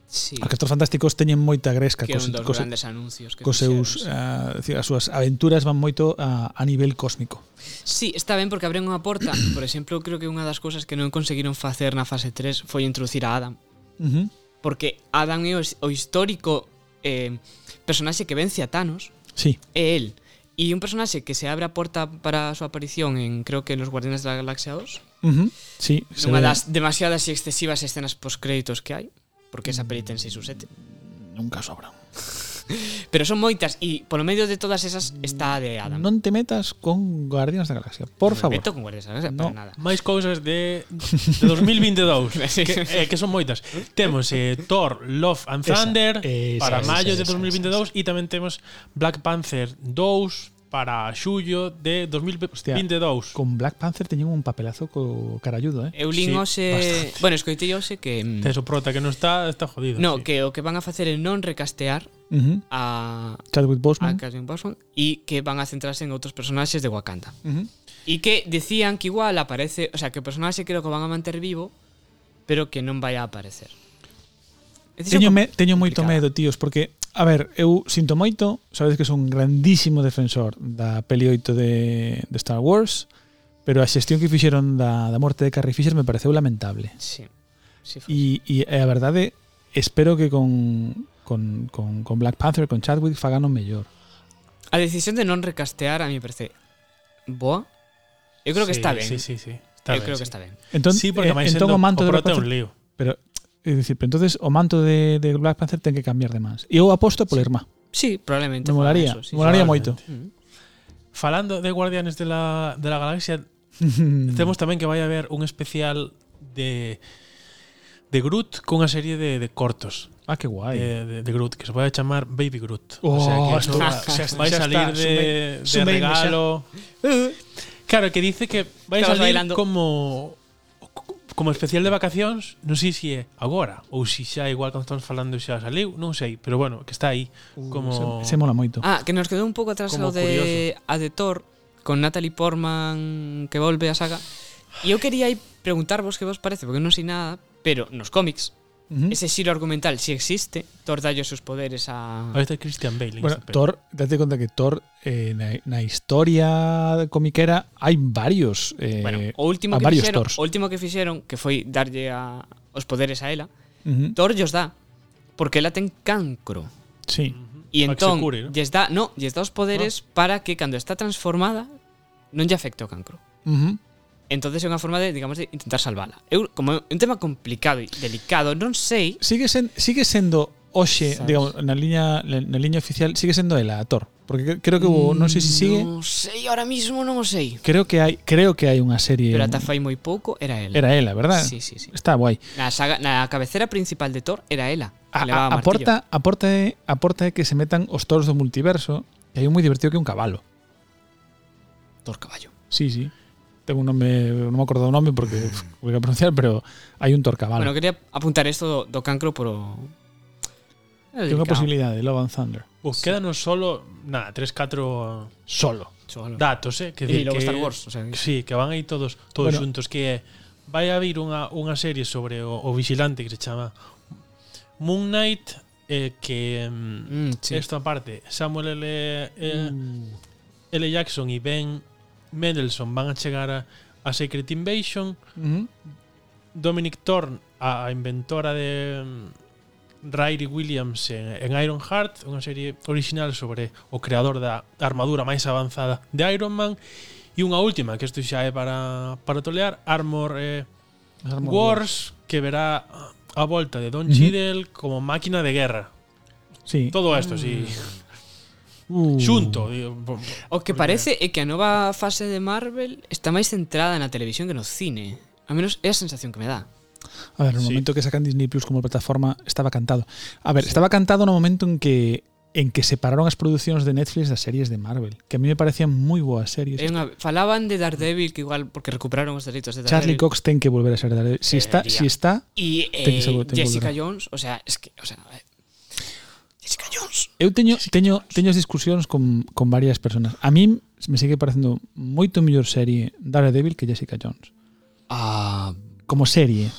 [SPEAKER 1] Sí,
[SPEAKER 2] Os Catros Fantásticos teñen moita gresca
[SPEAKER 1] que
[SPEAKER 2] cos,
[SPEAKER 1] eran dos
[SPEAKER 2] cos,
[SPEAKER 1] grandes anuncios que
[SPEAKER 2] cos seus,
[SPEAKER 1] fixeron,
[SPEAKER 2] ah, decir, as súas aventuras van moito a, a nivel cósmico.
[SPEAKER 1] Sí, está ben porque abren unha porta. Por exemplo, creo que unha das cousas que non conseguiron facer na fase 3 foi introducir a Adam.
[SPEAKER 2] Uh -huh.
[SPEAKER 1] Porque Adam é o, his- o histórico eh, personaxe que vence a Thanos.
[SPEAKER 2] Sí,
[SPEAKER 1] É él. E un personaxe que se abre a porta para a súa aparición en, creo que, Los Guardianes da Galaxia 2.
[SPEAKER 2] uh -huh. sí. se
[SPEAKER 1] Nunha
[SPEAKER 2] ve-
[SPEAKER 1] das demasiadas e excesivas escenas post-créditos que hai. Porque
[SPEAKER 2] Mm.
[SPEAKER 1] esa peli ten 6 ou 7.
[SPEAKER 2] Nunca sobran.
[SPEAKER 1] Pero son moitas e polo medio de todas esas está a de Adam.
[SPEAKER 2] Non te metas con Guardianes da Galaxia, por
[SPEAKER 1] Me
[SPEAKER 2] favor.
[SPEAKER 1] meto con Guardianes da Galaxia
[SPEAKER 2] No.
[SPEAKER 1] para nada.
[SPEAKER 3] máis cousas de, de
[SPEAKER 1] [laughs]
[SPEAKER 3] 2022
[SPEAKER 1] Sí.
[SPEAKER 3] que, eh, que son moitas temos eh, Thor, Love and
[SPEAKER 2] Esa,
[SPEAKER 3] Thunder
[SPEAKER 2] esa,
[SPEAKER 3] para
[SPEAKER 2] esa,
[SPEAKER 3] maio
[SPEAKER 2] esa,
[SPEAKER 3] de
[SPEAKER 2] esa,
[SPEAKER 3] 2022 e tamén temos Black Panther 2 para xullo de 2022
[SPEAKER 2] Con Black Panther teñen un papelazo co carayudo, eh?
[SPEAKER 1] Eu lin
[SPEAKER 3] Sí,
[SPEAKER 1] hoxe...
[SPEAKER 2] bastante.
[SPEAKER 1] Bueno, escoitei hoxe que... mm,
[SPEAKER 3] Tes o prota que non está, está jodido
[SPEAKER 1] No,
[SPEAKER 3] sí.
[SPEAKER 1] que o que van a facer é non recastear
[SPEAKER 2] Uh -huh.
[SPEAKER 1] a
[SPEAKER 2] Chadwick
[SPEAKER 1] a
[SPEAKER 2] Boseman.
[SPEAKER 1] Catherine Boseman e que van a centrarse en outros personaxes de Wakanda.
[SPEAKER 2] Uh -huh.
[SPEAKER 1] E que dicían que igual aparece, o sea, que o personaxe creo que o van a manter vivo, pero que non vai a aparecer. É dicir,
[SPEAKER 2] Teño,
[SPEAKER 1] co-
[SPEAKER 2] me, teño moito
[SPEAKER 1] complicada.
[SPEAKER 2] medo, tíos, porque a ver, eu sinto moito, sabedes que son un grandísimo defensor da peli 8 de, de Star Wars, pero a xestión que fixeron da, da morte de Carrie Fisher me pareceu lamentable.
[SPEAKER 1] Sí. sí foi.
[SPEAKER 2] E, e eh, a verdade, espero que con, con, con, con Black Panther, con Chadwick, fagan o mellor.
[SPEAKER 1] A decisión de non recastear a mí me parece boa. Eu creo que
[SPEAKER 3] Sí,
[SPEAKER 1] está ben.
[SPEAKER 3] Sí, sí, sí. Está
[SPEAKER 1] Eu
[SPEAKER 3] ben,
[SPEAKER 1] creo
[SPEAKER 3] sí.
[SPEAKER 1] que está ben.
[SPEAKER 2] Entón,
[SPEAKER 3] sí, porque
[SPEAKER 2] eh,
[SPEAKER 3] máis
[SPEAKER 2] entón o
[SPEAKER 3] sendo
[SPEAKER 2] manto
[SPEAKER 3] o
[SPEAKER 2] de Black
[SPEAKER 3] prota é un
[SPEAKER 2] Panther,
[SPEAKER 3] lío.
[SPEAKER 2] pero, é dicir, pero entonces o manto de, de Black Panther ten que cambiar de mans. E eu aposto polo irmá.
[SPEAKER 1] Sí, probablemente.
[SPEAKER 2] Me
[SPEAKER 1] fagan
[SPEAKER 2] molaría,
[SPEAKER 1] eso, sí,
[SPEAKER 2] me molaría
[SPEAKER 3] probablemente.
[SPEAKER 1] sí.
[SPEAKER 2] moito.
[SPEAKER 1] Mm.
[SPEAKER 3] Falando de Guardianes de la, de la Galaxia,
[SPEAKER 2] [laughs]
[SPEAKER 1] Mm.
[SPEAKER 3] Temos tamén que vai haber un especial de de Groot cunha serie de, de cortos
[SPEAKER 2] ah, que guai.
[SPEAKER 1] eh,
[SPEAKER 3] de, de, de Groot que se vai chamar Baby Groot.
[SPEAKER 2] Oh,
[SPEAKER 3] que
[SPEAKER 2] esto
[SPEAKER 3] eso
[SPEAKER 1] va-
[SPEAKER 3] va-
[SPEAKER 1] xa
[SPEAKER 2] [laughs]
[SPEAKER 3] vai
[SPEAKER 2] está,
[SPEAKER 3] salir de,
[SPEAKER 2] sume-
[SPEAKER 3] de
[SPEAKER 2] sumeime xa. [laughs]
[SPEAKER 3] regalo. Claro, que dice que vai
[SPEAKER 1] Estabas
[SPEAKER 3] salir
[SPEAKER 1] bailando.
[SPEAKER 3] como como especial de vacacións, non sei se é agora ou se xa igual cando estamos falando xa saliu, non sei, pero bueno, que está aí como
[SPEAKER 2] Uh, se, se mola moito.
[SPEAKER 1] Ah, que nos quedou un pouco atrás
[SPEAKER 3] Como
[SPEAKER 1] o de a de Thor con Natalie Portman que volve a saga. E eu quería aí preguntarvos que vos parece, porque non sei nada, pero nos cómics
[SPEAKER 2] Ujú.
[SPEAKER 1] ese xiro argumental si existe, Thor dalle os seus poderes a
[SPEAKER 3] Vai estar Christian Bale. en
[SPEAKER 2] Bueno,
[SPEAKER 3] esta peli.
[SPEAKER 2] Thor, date cuenta que Thor eh, na, na historia comiquera hai varios eh,
[SPEAKER 1] Bueno, o último
[SPEAKER 2] a
[SPEAKER 1] que
[SPEAKER 2] varios
[SPEAKER 1] fixeron,
[SPEAKER 2] Thors.
[SPEAKER 1] o último que fixeron que foi darlle a os poderes a ela.
[SPEAKER 2] Ujú,
[SPEAKER 1] Thor lles dá porque ela ten cancro.
[SPEAKER 2] Sí.
[SPEAKER 1] E
[SPEAKER 3] Para que se
[SPEAKER 1] entón
[SPEAKER 3] cure, ¿no?
[SPEAKER 1] lles dá, no, lles dá os
[SPEAKER 2] Ah.
[SPEAKER 1] poderes para que cando está transformada non lle afecte o cancro.
[SPEAKER 2] Ujú.
[SPEAKER 1] Entonces é unha forma de, digamos, de intentar salvala. Eu, como é un tema complicado e delicado, non sei...
[SPEAKER 2] Sigue sen, sigue sendo hoxe,
[SPEAKER 1] Sabes.
[SPEAKER 2] digamos, na liña na, na liña oficial sigue sendo ela a Thor, porque cre- creo que
[SPEAKER 1] Mm,
[SPEAKER 2] hubo, non sei se sigue,
[SPEAKER 1] Non sei, ahora mismo non o sei.
[SPEAKER 2] creo que hai creo que hai unha serie
[SPEAKER 1] Pero ata fai moi pouco era ela.
[SPEAKER 2] era ela, ¿verdad?
[SPEAKER 1] Sí, sí, sí.
[SPEAKER 2] Está guai.
[SPEAKER 1] Na, saga, na cabecera principal de Thor era ela. que
[SPEAKER 2] A,
[SPEAKER 1] levaba
[SPEAKER 2] Ah, a, aporta aporta é- aporta é que se metan os toros do multiverso, que hai un moi divertido que é un cabalo.
[SPEAKER 1] martillo. Thor caballo.
[SPEAKER 2] Sí, sí. Tengo un nombre, no me acuerdo el
[SPEAKER 1] [laughs]
[SPEAKER 2] nombre porque voy a pronunciar, pero hay un torcabal.
[SPEAKER 1] Bueno, quería apuntar esto do, do cancro poro... É
[SPEAKER 2] Tengo una
[SPEAKER 1] delicado.
[SPEAKER 2] posibilidad de Love and Thunder.
[SPEAKER 3] Uf, quédanos solo, nada, 3 4
[SPEAKER 2] Solo.
[SPEAKER 1] Cholo.
[SPEAKER 3] datos, eh, que
[SPEAKER 1] E
[SPEAKER 3] decir
[SPEAKER 1] logo
[SPEAKER 3] que
[SPEAKER 1] Star Wars, o sea,
[SPEAKER 3] que sí, que van aí todos todos
[SPEAKER 2] Bueno.
[SPEAKER 3] bueno. xuntos que é vai haber unha unha serie sobre o, o vigilante que se chama Moon Knight eh, que mm,
[SPEAKER 1] Mm, sí.
[SPEAKER 3] sí. esto aparte, Samuel L, eh,
[SPEAKER 2] Mm.
[SPEAKER 1] Uh.
[SPEAKER 3] L Jackson e Ben Mendelssohn van a chegar a, a Secret Invasion,
[SPEAKER 2] Ujú.
[SPEAKER 3] Dominic Thorne a, a inventora de mm, Riley Williams en, en Iron Heart, unha serie original sobre o creador da armadura máis avanzada de Iron Man e unha última, que isto xa é para, para tolear, Armor eh,
[SPEAKER 2] Armor
[SPEAKER 3] Wars, que verá a volta de Don
[SPEAKER 2] Ujú.
[SPEAKER 3] Cheadle como máquina de guerra.
[SPEAKER 2] Sí.
[SPEAKER 3] Todo isto, si
[SPEAKER 2] Uh.
[SPEAKER 3] xunto. digo, bo-
[SPEAKER 1] O que parece é que a nova fase de Marvel está máis centrada na televisión que no cine. A menos é a sensación que me dá.
[SPEAKER 2] A ver, en el
[SPEAKER 3] Sí.
[SPEAKER 2] momento que sacan Disney Plus como plataforma, estaba cantado. A ver, estaba cantado no momento en que en que separaron as producións de Netflix das series de Marvel, que a mí me parecían moi boas series.
[SPEAKER 1] É unha- falaban de Daredevil que igual porque recuperaron os derechos de
[SPEAKER 2] Charlie
[SPEAKER 1] Daredevil.
[SPEAKER 2] Cox ten que volver a ser Daredevil. Si está,
[SPEAKER 1] Debería.
[SPEAKER 2] si está,
[SPEAKER 1] y eh,
[SPEAKER 2] Ten que ser- ten que
[SPEAKER 1] Jessica
[SPEAKER 2] volver.
[SPEAKER 1] Jones, o sea, es que, o sea, eh, Jessica Jones.
[SPEAKER 2] Eu teño teño teño as discusións con, con varias personas. A mí me sigue parecendo moito mellor serie Daredevil que Jessica Jones.
[SPEAKER 1] Ah,
[SPEAKER 2] Como serie.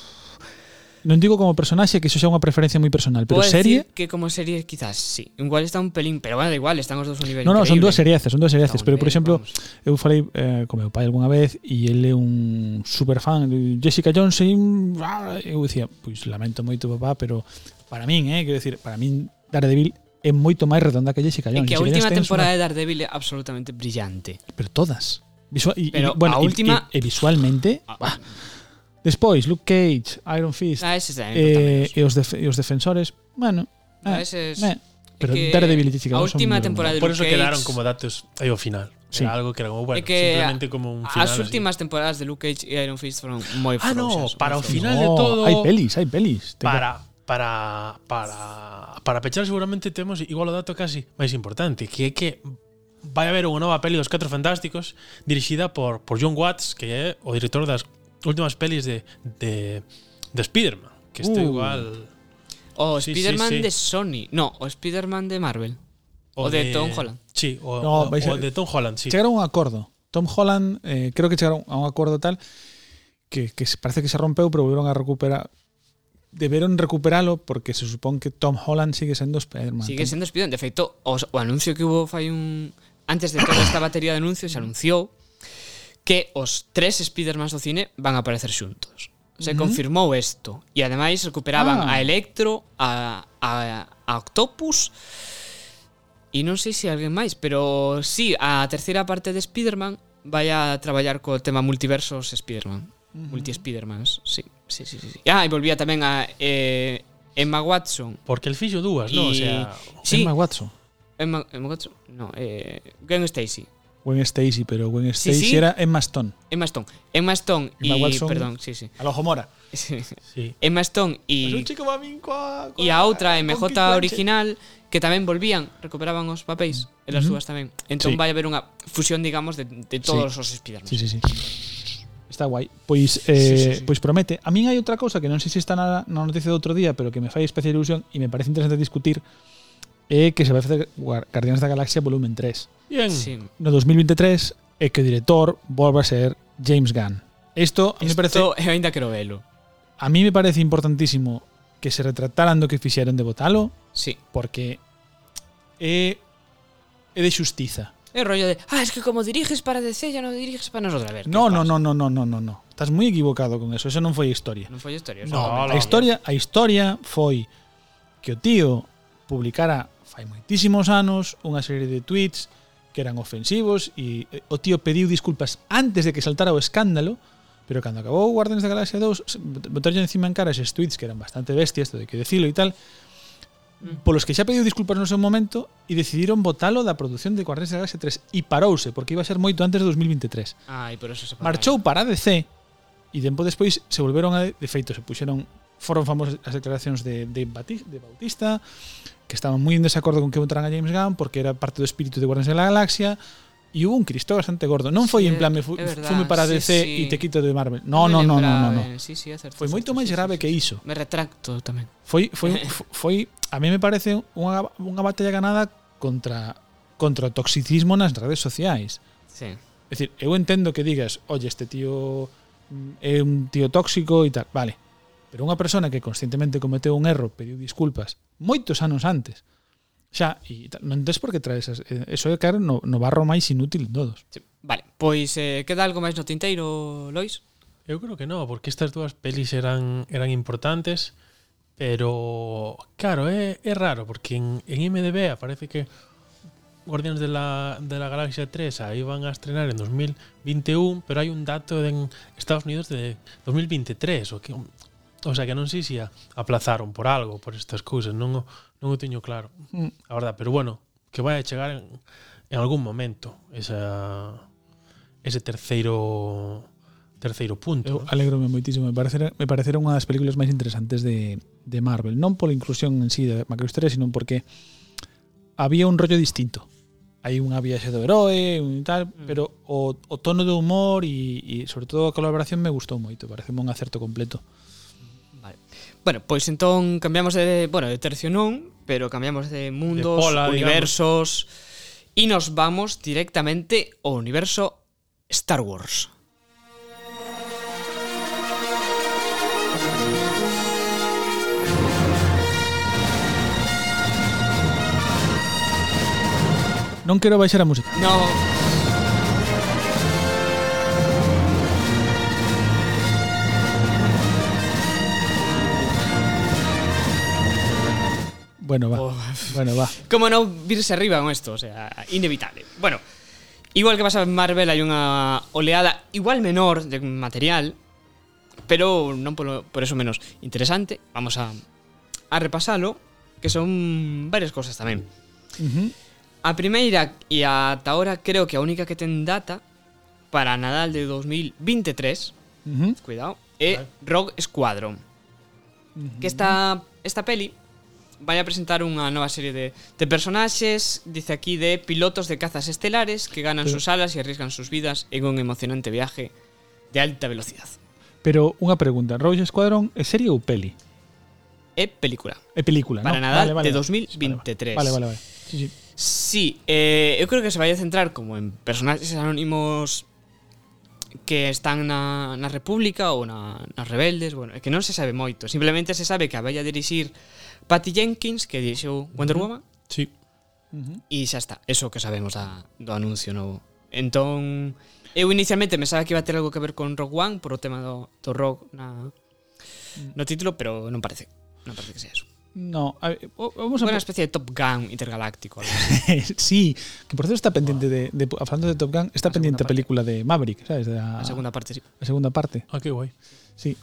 [SPEAKER 2] non digo como personaxe, que iso xa é unha preferencia moi personal, pero
[SPEAKER 1] Puedo
[SPEAKER 2] serie...
[SPEAKER 1] decir que como serie quizás sí. Igual está un pelín, pero bueno, da igual, están os dos a un nivel
[SPEAKER 2] No, no,
[SPEAKER 1] increíble.
[SPEAKER 2] son dúas serieces, son dúas serieces,
[SPEAKER 1] Está un
[SPEAKER 2] pero por
[SPEAKER 1] nivel,
[SPEAKER 2] exemplo,
[SPEAKER 1] vamos.
[SPEAKER 2] eu falei eh, con meu pai algunha vez e ele é un super fan de Jessica Jones e un- ah, eu dicía, pois lamento moito papá, pero para min, eh, quero decir, para min Daredevil é moito máis redonda que Jessica
[SPEAKER 1] É que a
[SPEAKER 2] Jones. Jessica
[SPEAKER 1] última
[SPEAKER 2] Jones ten
[SPEAKER 1] temporada de Daredevil é absolutamente brillante.
[SPEAKER 2] Unha, pero todas. Visual, y,
[SPEAKER 1] Pero
[SPEAKER 2] y, bueno,
[SPEAKER 1] a
[SPEAKER 2] y-
[SPEAKER 1] última- Ah.
[SPEAKER 2] e, e visualmente, bah. Despois Luke Cage, Iron Fist,
[SPEAKER 1] A veces Ah, tamén,
[SPEAKER 2] eh,
[SPEAKER 1] eh,
[SPEAKER 2] e os def e os defensores, bueno, eh,
[SPEAKER 1] a veces
[SPEAKER 2] meh, pero
[SPEAKER 1] Ah, que
[SPEAKER 2] Daredevil e
[SPEAKER 1] a
[SPEAKER 2] Jessica Jones son
[SPEAKER 1] última
[SPEAKER 2] moi
[SPEAKER 1] temporada de
[SPEAKER 3] Por
[SPEAKER 1] Luke
[SPEAKER 3] eso
[SPEAKER 1] Cage,
[SPEAKER 3] quedaron como datos ahí al final.
[SPEAKER 2] Sí.
[SPEAKER 3] Era algo que era como,
[SPEAKER 1] É
[SPEAKER 3] bueno,
[SPEAKER 1] que
[SPEAKER 3] simplemente como un
[SPEAKER 1] As
[SPEAKER 3] final. así.
[SPEAKER 1] últimas temporadas de Luke Cage e Iron Fist foron moi
[SPEAKER 3] Ah, no,
[SPEAKER 1] frouxas,
[SPEAKER 3] para
[SPEAKER 1] moi
[SPEAKER 3] o
[SPEAKER 1] frouxas.
[SPEAKER 3] final de todo-
[SPEAKER 2] Hai pelis, hai pelis. Ten que-
[SPEAKER 3] para para para para pechar seguramente temos igual o dato casi máis importante, que é que vai haber unha nova peli dos Catro Fantásticos dirixida por por John Watts, que é o director das últimas pelis de de, de Spider-Man, que este
[SPEAKER 2] Uh.
[SPEAKER 3] igual
[SPEAKER 1] O
[SPEAKER 3] Sí, sí,
[SPEAKER 1] Spider-Man
[SPEAKER 3] sí.
[SPEAKER 1] de Sony. No, o Spider-Man de Marvel. O de Tom Holland.
[SPEAKER 3] Sí, o,
[SPEAKER 2] No,
[SPEAKER 3] o-
[SPEAKER 2] vais a-
[SPEAKER 3] o de Tom Holland, sí.
[SPEAKER 2] Chegaron a un acordo. Tom Holland, eh, creo que chegaron a un acordo tal que, que se- parece que se rompeu, pero volveron a recuperar. Deberon recuperalo porque se supón que Tom Holland sigue sendo Spider-Man.
[SPEAKER 1] Sigue sendo Spider-Man. De feito, os, o anuncio que hubo fai un... Antes de toda esta batería de anuncios, se anunciou que os tres Spider-Mans do cine van a aparecer xuntos. Se confirmou isto. E ademais recuperaban
[SPEAKER 2] Ah.
[SPEAKER 1] a Electro, a, a, a Octopus... E non sei se alguén máis, pero sí, a terceira parte de Spider-Man vai a traballar co tema multiversos Spider-Man. Multi-Spider-Mans, sí. Sí, sí, sí, sí. Ah, e volvía tamén a eh, Emma Watson
[SPEAKER 3] Porque el fixo dúas, no, o
[SPEAKER 1] Y-
[SPEAKER 3] sea,
[SPEAKER 1] Sí,
[SPEAKER 2] Emma Watson.
[SPEAKER 1] Emma, Emma Watson, no, eh, Gwen Stacy,
[SPEAKER 2] Gwen Stacy, pero Gwen
[SPEAKER 1] Sí,
[SPEAKER 2] Stacy
[SPEAKER 1] sí.
[SPEAKER 2] era Emma Stone.
[SPEAKER 1] Emma Stone, Emma Stone
[SPEAKER 2] Emma
[SPEAKER 1] y
[SPEAKER 2] Watson.
[SPEAKER 1] perdón, sí, [laughs] sí,
[SPEAKER 2] A lo Homora.
[SPEAKER 1] Sí.
[SPEAKER 3] sí.
[SPEAKER 1] Emma Stone y
[SPEAKER 2] Pues chico maminco a,
[SPEAKER 1] e a outra MJ original que tamén volvían, recuperaban os papéis, e as dúas tamén. Entón
[SPEAKER 2] Sí.
[SPEAKER 1] vai haber unha fusión, digamos, de, de todos os Spider-Man.
[SPEAKER 2] Sí, sí, sí. Está guai. Pois,
[SPEAKER 1] Sí,
[SPEAKER 2] eh,
[SPEAKER 1] sí, sí.
[SPEAKER 2] pois promete. A min hai outra cousa que non sei se está na, na noticia do outro día, pero que me fai especial ilusión e me parece interesante discutir, é que se vai facer Guar- Guardianes da Galaxia volumen 3
[SPEAKER 3] Bien.
[SPEAKER 1] Sí.
[SPEAKER 2] no 2023 e que o director volva a ser James Gunn. Isto a mí me parece
[SPEAKER 1] Isto, eu ainda quero velo.
[SPEAKER 2] a mí me parece importantísimo que se retrataran do que fixeron de botalo
[SPEAKER 1] Sí.
[SPEAKER 2] porque é é de xustiza.
[SPEAKER 1] É o rollo de, ah, es que como diriges para DC, ya no diriges para nosotros. A ver,
[SPEAKER 2] No,
[SPEAKER 1] ¿qué
[SPEAKER 2] no,
[SPEAKER 1] pasa?
[SPEAKER 2] no, no, no, no, no, no. Estás moi equivocado con eso. Eso non foi historia.
[SPEAKER 1] Non foi historia.
[SPEAKER 3] No,
[SPEAKER 1] solamente.
[SPEAKER 2] A historia, a historia foi que o tío publicara fai moitísimos anos unha serie de tweets que eran ofensivos e eh, o tío pediu disculpas antes de que saltara o escándalo pero cando acabou Guardians da Galaxia 2 se- botarlle encima en cara eses tweets que eran bastante bestias, todo hai que decilo e tal polos que xa pediu disculpas no seu momento e decidiron botalo da produción de Guardians da Galaxia 3 e parouse porque iba a ser moito antes de 2023
[SPEAKER 1] Ai, por eso se pararon.
[SPEAKER 2] marchou para DC e tempo despois se volveron a de feito se puxeron foron famosas as declaracións de, de, Bati- de Bautista que estaban moi en desacordo con que votaran a James Gunn porque era parte do espírito de Guardians da Galaxia e hubo un Cristo bastante gordo non
[SPEAKER 1] Sí,
[SPEAKER 2] foi en plan
[SPEAKER 1] é
[SPEAKER 2] me fu
[SPEAKER 1] verdad,
[SPEAKER 2] fume para
[SPEAKER 1] sí,
[SPEAKER 2] DC
[SPEAKER 1] sí.
[SPEAKER 2] e te quito de Marvel no, no, no, no, no, no.
[SPEAKER 1] Sí, sí, é certo, é
[SPEAKER 2] foi moito
[SPEAKER 1] certo,
[SPEAKER 2] máis
[SPEAKER 1] sí, sí,
[SPEAKER 2] grave
[SPEAKER 1] sí,
[SPEAKER 2] que iso
[SPEAKER 1] Me retracto tamén.
[SPEAKER 2] foi
[SPEAKER 1] [laughs]
[SPEAKER 2] foi foi a mí me parece unha, unha batalla ganada contra contra o toxicismo nas redes sociais
[SPEAKER 1] Sí.
[SPEAKER 2] É dicir, eu entendo que digas, oye, este tío mm, é un tío tóxico e tal, vale. Pero unha persona que conscientemente cometeu un erro, pediu disculpas moitos anos antes, xa, e tal, non tes por que traes esas, eh, eso é caro no, no barro máis inútil de todos.
[SPEAKER 1] sí. Vale, pois eh, queda algo máis no tinteiro, Lois?
[SPEAKER 3] Eu creo que no, porque estas dúas pelis eran eran importantes, pero claro, é, é raro porque en, en IMDb aparece que Guardianes de la, de la Galaxia 3 ahí van a estrenar en 2021, pero hai un dato en Estados Unidos de 2023, o que o sea que non sei se a aplazaron por algo, por estas cousas, non o- non o teño claro,
[SPEAKER 2] Mm.
[SPEAKER 3] a verdad, pero bueno, que vai a chegar en, en algún momento esa ese terceiro terceiro
[SPEAKER 2] Eu
[SPEAKER 3] punto. ¿no?
[SPEAKER 2] alegrome moitísimo, me parecera, me parecera unha das películas máis interesantes de, de Marvel, non pola inclusión en sí de Macrohistoria, sino porque había un rollo distinto. Hai unha viaxe do heroe e tal,
[SPEAKER 1] Mm.
[SPEAKER 2] pero o, o tono do humor e, e sobre todo a colaboración me gustou moito, parece un acerto completo.
[SPEAKER 1] Vale. Bueno, pois entón cambiamos de, bueno, de tercio non, pero cambiamos de mundos,
[SPEAKER 3] De pola,
[SPEAKER 1] universos e nos vamos directamente ao universo Star Wars.
[SPEAKER 2] Non quero baixar a música.
[SPEAKER 1] No.
[SPEAKER 2] Bueno, va.
[SPEAKER 1] Oh.
[SPEAKER 2] Bueno, va.
[SPEAKER 1] Como non virse arriba con esto, o sea, inevitable. Bueno, igual que pasa en Marvel hai unha oleada igual menor de material, pero non polo, por eso menos interesante. Vamos a, a repasalo, que son varias cosas tamén.
[SPEAKER 2] Ujú.
[SPEAKER 1] A primeira e ata ahora creo que a única que ten data para Nadal de 2023,
[SPEAKER 2] Ujú.
[SPEAKER 1] cuidado, é Rogue Squadron. Que esta esta peli vai a presentar unha nova serie de, de personaxes, dice aquí, de pilotos de cazas estelares que ganan
[SPEAKER 2] Pero-
[SPEAKER 1] sus alas e arriesgan sus vidas en un emocionante viaje de alta velocidad.
[SPEAKER 2] Pero unha pregunta, Rogue Squadron é serie ou peli?
[SPEAKER 1] É película.
[SPEAKER 2] É película,
[SPEAKER 1] Para
[SPEAKER 2] ¿no?
[SPEAKER 1] Nadal
[SPEAKER 2] Vale,
[SPEAKER 1] de
[SPEAKER 2] vale, vale.
[SPEAKER 1] 2023.
[SPEAKER 2] Vale, vale, vale. Sí, sí.
[SPEAKER 1] Sí, eh, eu creo que se vai a centrar como en personaxes anónimos que están na, na República ou na, nas rebeldes, bueno, é que non se sabe moito, simplemente se sabe que a vai a dirixir Patty Jenkins, que dirixiu Wonder Woman,
[SPEAKER 3] Sí.
[SPEAKER 2] Ujú.
[SPEAKER 1] e xa está, eso que sabemos da, do anuncio novo. Entón, eu inicialmente me sabía que iba a ter algo que ver con Rock One por o tema do, do rock na, no título, pero non parece, non parece que sea eso.
[SPEAKER 2] No, a ver, o- vamos a
[SPEAKER 1] Unha especie de Top Gun intergaláctico. algo así.
[SPEAKER 2] [laughs] Sí, que por cierto está pendiente de, de- hablando de Top Gun, está
[SPEAKER 1] La segunda
[SPEAKER 2] pendiente
[SPEAKER 1] parte.
[SPEAKER 2] película de Maverick, ¿sabes? De la,
[SPEAKER 1] A segunda parte, sí.
[SPEAKER 2] la segunda parte.
[SPEAKER 3] Ah, qué guay.
[SPEAKER 2] Sí.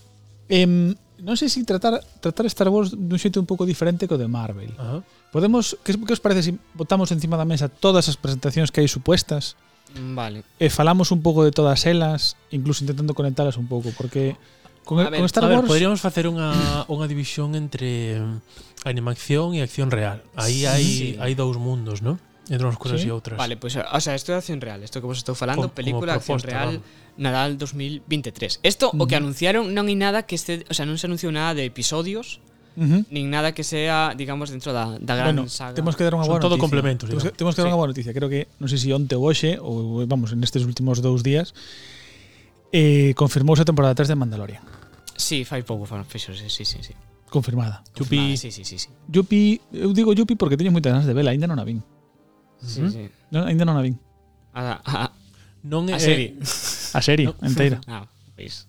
[SPEAKER 2] Em, non sei se tratar tratar Star Wars dun xeito un pouco diferente que o de Marvel.
[SPEAKER 1] Ah.
[SPEAKER 3] Ajá.
[SPEAKER 2] Podemos, que, que os parece se si botamos encima da mesa todas as presentacións que hai supuestas
[SPEAKER 1] Mm, Vale.
[SPEAKER 2] e falamos un pouco de todas elas, incluso intentando conectalas un pouco, porque con,
[SPEAKER 1] A ver,
[SPEAKER 2] con Star
[SPEAKER 3] a ver,
[SPEAKER 2] Wars
[SPEAKER 3] podríamos facer unha unha división entre mm, animación e acción real. Aí
[SPEAKER 2] Sí.
[SPEAKER 3] hai hai dous mundos, ¿no? Entre unhas cousas
[SPEAKER 2] Sí.
[SPEAKER 3] e outras.
[SPEAKER 1] Vale, pois, pues, o sea, isto é acción real, isto que vos estou falando,
[SPEAKER 3] Como- como
[SPEAKER 1] película acción
[SPEAKER 3] proposta,
[SPEAKER 1] real Nadal 2023. Isto o que anunciaron non hai nada que este, o sea, non se anunciou nada de episodios,
[SPEAKER 2] Ujú.
[SPEAKER 1] nin nada que sea, digamos, dentro da, da gran
[SPEAKER 2] Bueno,
[SPEAKER 1] saga.
[SPEAKER 2] temos que dar unha
[SPEAKER 3] Son
[SPEAKER 2] boa
[SPEAKER 3] todo
[SPEAKER 2] noticia.
[SPEAKER 3] complementos,
[SPEAKER 2] Temos que,
[SPEAKER 3] digamos.
[SPEAKER 2] temos que dar
[SPEAKER 1] Sí.
[SPEAKER 2] unha boa noticia. Creo que, non sei se onte ou hoxe, ou vamos, nestes últimos dous días, eh, confirmouse a temporada 3 de Mandalorian.
[SPEAKER 1] Sí, fai pouco fan fixo, sí, sí, sí, sí.
[SPEAKER 2] Confirmada.
[SPEAKER 1] Confirmada,
[SPEAKER 3] Chupi.
[SPEAKER 1] Sí, sí, sí, sí.
[SPEAKER 2] Yupi, eu digo Yupi porque teño moitas ganas de vela, aínda non a vin.
[SPEAKER 1] sí,
[SPEAKER 3] Ujú.
[SPEAKER 1] sí. Ah,
[SPEAKER 2] Non, aínda non a vin.
[SPEAKER 1] A, a,
[SPEAKER 3] Non é
[SPEAKER 1] a serie.
[SPEAKER 2] A serie,
[SPEAKER 3] No.
[SPEAKER 2] enteira.
[SPEAKER 1] ah, pues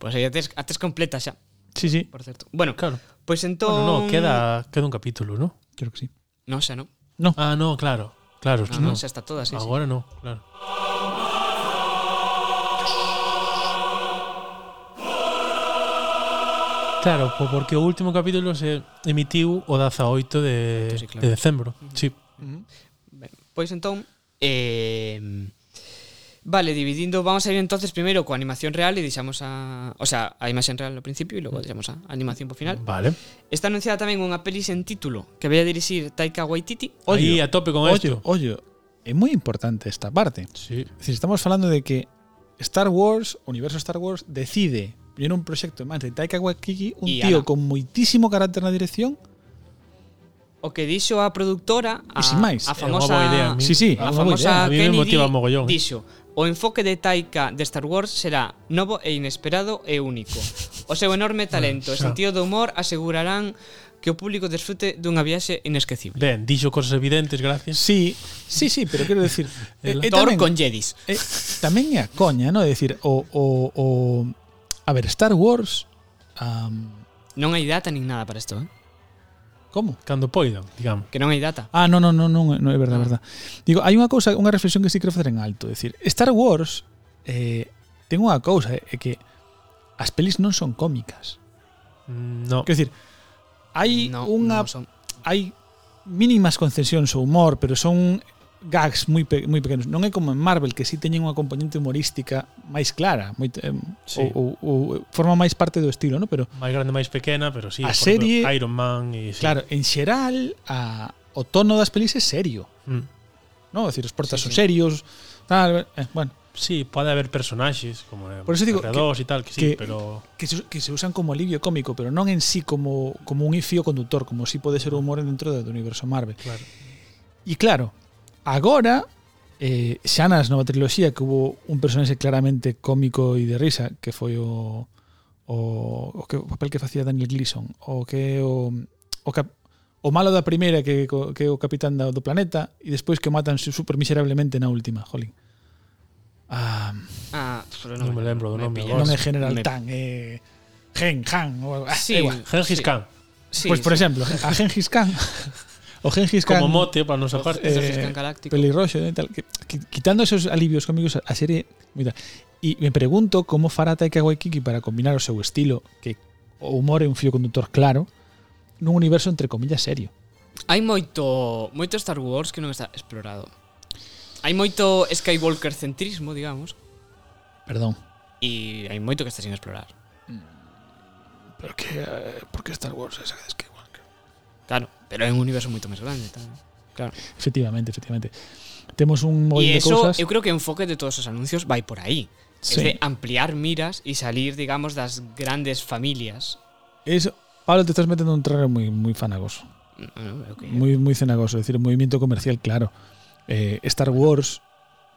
[SPEAKER 1] pois. Pois aí a tes, a tes completa xa,
[SPEAKER 2] [laughs] Sí, sí,
[SPEAKER 1] por certo. Bueno, pues
[SPEAKER 3] Claro.
[SPEAKER 1] pois entón
[SPEAKER 3] Bueno, [laughs] no, queda queda un capítulo, ¿no?
[SPEAKER 2] creo que sí.
[SPEAKER 1] Non xa, non.
[SPEAKER 3] Ah, no, claro. Claro,
[SPEAKER 1] Non,
[SPEAKER 3] no.
[SPEAKER 1] non, xa Ah, está toda, sí, sí.
[SPEAKER 3] Agora no, claro. Claro, po- porque o último capítulo se emitiu o 18 de,
[SPEAKER 1] Sí, claro.
[SPEAKER 3] de decembro. Sí.
[SPEAKER 1] Ben, pois entón eh, Vale, dividindo Vamos a ir entonces primeiro coa animación real E deixamos a... O sea, a imaxen real no principio E
[SPEAKER 3] Mm.
[SPEAKER 1] logo deixamos a animación por final
[SPEAKER 3] Vale.
[SPEAKER 1] Está anunciada tamén unha peli sen título Que vai a dirixir Taika Waititi
[SPEAKER 3] Aí a tope con
[SPEAKER 2] Ollo,
[SPEAKER 3] esto.
[SPEAKER 2] ollo, é moi importante esta parte.
[SPEAKER 3] Sí.
[SPEAKER 2] Es decir, estamos falando de que Star Wars, universo Star Wars, decide poñer un proxecto en mans de Taika Waititi, un
[SPEAKER 1] Y
[SPEAKER 2] tío
[SPEAKER 1] ala.
[SPEAKER 2] con moitísimo carácter na dirección,
[SPEAKER 1] O que dixo a productora A,
[SPEAKER 2] E sin máis,
[SPEAKER 1] a
[SPEAKER 3] É unha boa idea, a
[SPEAKER 1] famosa
[SPEAKER 3] mí-
[SPEAKER 2] Sí, sí,
[SPEAKER 1] A
[SPEAKER 2] unha boa idea.
[SPEAKER 1] famosa
[SPEAKER 3] A mí me
[SPEAKER 1] Kennedy
[SPEAKER 3] motiva mogollón, eh.
[SPEAKER 1] dixo O enfoque de Taika de Star Wars será novo e inesperado e único. O seu enorme talento e
[SPEAKER 3] xa.
[SPEAKER 1] sentido do humor asegurarán que o público desfrute dunha viaxe inesquecible.
[SPEAKER 3] Ben, dixo cosas evidentes, gracias.
[SPEAKER 2] Sí, sí, sí, pero quero decir, [laughs] eh, eh,
[SPEAKER 1] Thor
[SPEAKER 2] tamén,
[SPEAKER 1] con Jedis.
[SPEAKER 2] eh, tamén é a coña, non? É dicir, o, o, o a ver, Star Wars um,
[SPEAKER 1] Non hai data nin nada para isto, eh?
[SPEAKER 2] como?
[SPEAKER 3] Cando poidan, digamos.
[SPEAKER 1] Que non hai data.
[SPEAKER 2] Ah, non, non, non, non, non é verdade, é verdade. Digo, hai unha cousa, unha reflexión que sí quero facer en alto, é dicir, Star Wars eh, ten unha cousa, eh, é que as pelis non son cómicas.
[SPEAKER 3] Mm, No.
[SPEAKER 2] Quer dicir, hai
[SPEAKER 1] no,
[SPEAKER 2] unha
[SPEAKER 1] no son.
[SPEAKER 2] hai mínimas concesións ao humor, pero son gags moi pe moi pequenos. Non é como en Marvel que si teñen unha componente humorística máis clara, moi eh,
[SPEAKER 3] Sí.
[SPEAKER 2] ou, ou, ou forma máis parte do estilo, non? Pero
[SPEAKER 3] Máis grande, máis pequena, pero sí.
[SPEAKER 2] A
[SPEAKER 3] por exemplo,
[SPEAKER 2] serie-
[SPEAKER 3] Iron Man e... Sí.
[SPEAKER 2] claro, en xeral a o tono das pelis é serio,
[SPEAKER 3] Mm.
[SPEAKER 2] non? É dicir, os portas
[SPEAKER 1] Sí,
[SPEAKER 2] son
[SPEAKER 1] sí.
[SPEAKER 2] serios, tal, eh, bueno,
[SPEAKER 3] Sí, pode haber personaxes como eh,
[SPEAKER 2] Por eso digo
[SPEAKER 3] Cargadores e tal, que sí,
[SPEAKER 2] que-
[SPEAKER 3] pero...
[SPEAKER 2] que se, que se usan como alivio cómico, pero non en sí como como un fío conductor, como si pode ser o humor dentro do universo Marvel.
[SPEAKER 3] Claro.
[SPEAKER 2] E claro, agora eh, xa nas nova triloxía que hubo un personaxe claramente cómico e de risa que foi o o, o, que, o papel que facía Daniel Gleeson o que o, o, cap, o malo da primeira que, co- que é o capitán da- do planeta e despois que o matan su- super miserablemente na última, jolín. Ah,
[SPEAKER 1] Ah, pero
[SPEAKER 3] Non me lembro do
[SPEAKER 2] non
[SPEAKER 3] nome
[SPEAKER 1] pillas.
[SPEAKER 2] é
[SPEAKER 3] agora.
[SPEAKER 2] General
[SPEAKER 1] Me-
[SPEAKER 2] Tan, é Gen, Han, ou, algo- ah,
[SPEAKER 1] Sí,
[SPEAKER 2] é igual.
[SPEAKER 3] Gengis
[SPEAKER 1] sí,
[SPEAKER 3] Khan.
[SPEAKER 1] sí,
[SPEAKER 2] Pois, por
[SPEAKER 1] sí.
[SPEAKER 2] exemplo, a Genghis Khan, [laughs] o Genghis Khan
[SPEAKER 3] Como mote para nosa parte.
[SPEAKER 1] Eh, Genghis Khan galáctico.
[SPEAKER 2] pelirroxo, eh, tal, que, que, quitando esos alivios cómicos, a serie moi tal. E me pregunto como fará Taika Waititi para combinar o seu estilo, que o humor é un fío conductor claro, nun universo entre comillas serio.
[SPEAKER 1] Hai moito moito Star Wars que non está explorado. Hai moito Skywalker centrismo, digamos,
[SPEAKER 2] Perdón.
[SPEAKER 1] e hai moito que está sin explorar.
[SPEAKER 2] Pero que eh, por que Star Wars esa que Skywalker?
[SPEAKER 1] Claro, pero é un universo moito máis grande, tal. Claro.
[SPEAKER 2] Efectivamente, efectivamente. Temos un montón
[SPEAKER 1] E
[SPEAKER 2] de
[SPEAKER 1] eso,
[SPEAKER 2] cousas.
[SPEAKER 1] eu creo que o enfoque de todos os anuncios vai por aí.
[SPEAKER 2] Sí.
[SPEAKER 1] Sí. Es de ampliar miras e salir, digamos, das grandes familias.
[SPEAKER 2] Es, Pablo, te estás metendo en un terreno moi moi fanagoso.
[SPEAKER 1] Bueno, eu que-
[SPEAKER 2] moi moi cenagoso, é dicir, movimiento comercial claro. Eh, Star Wars,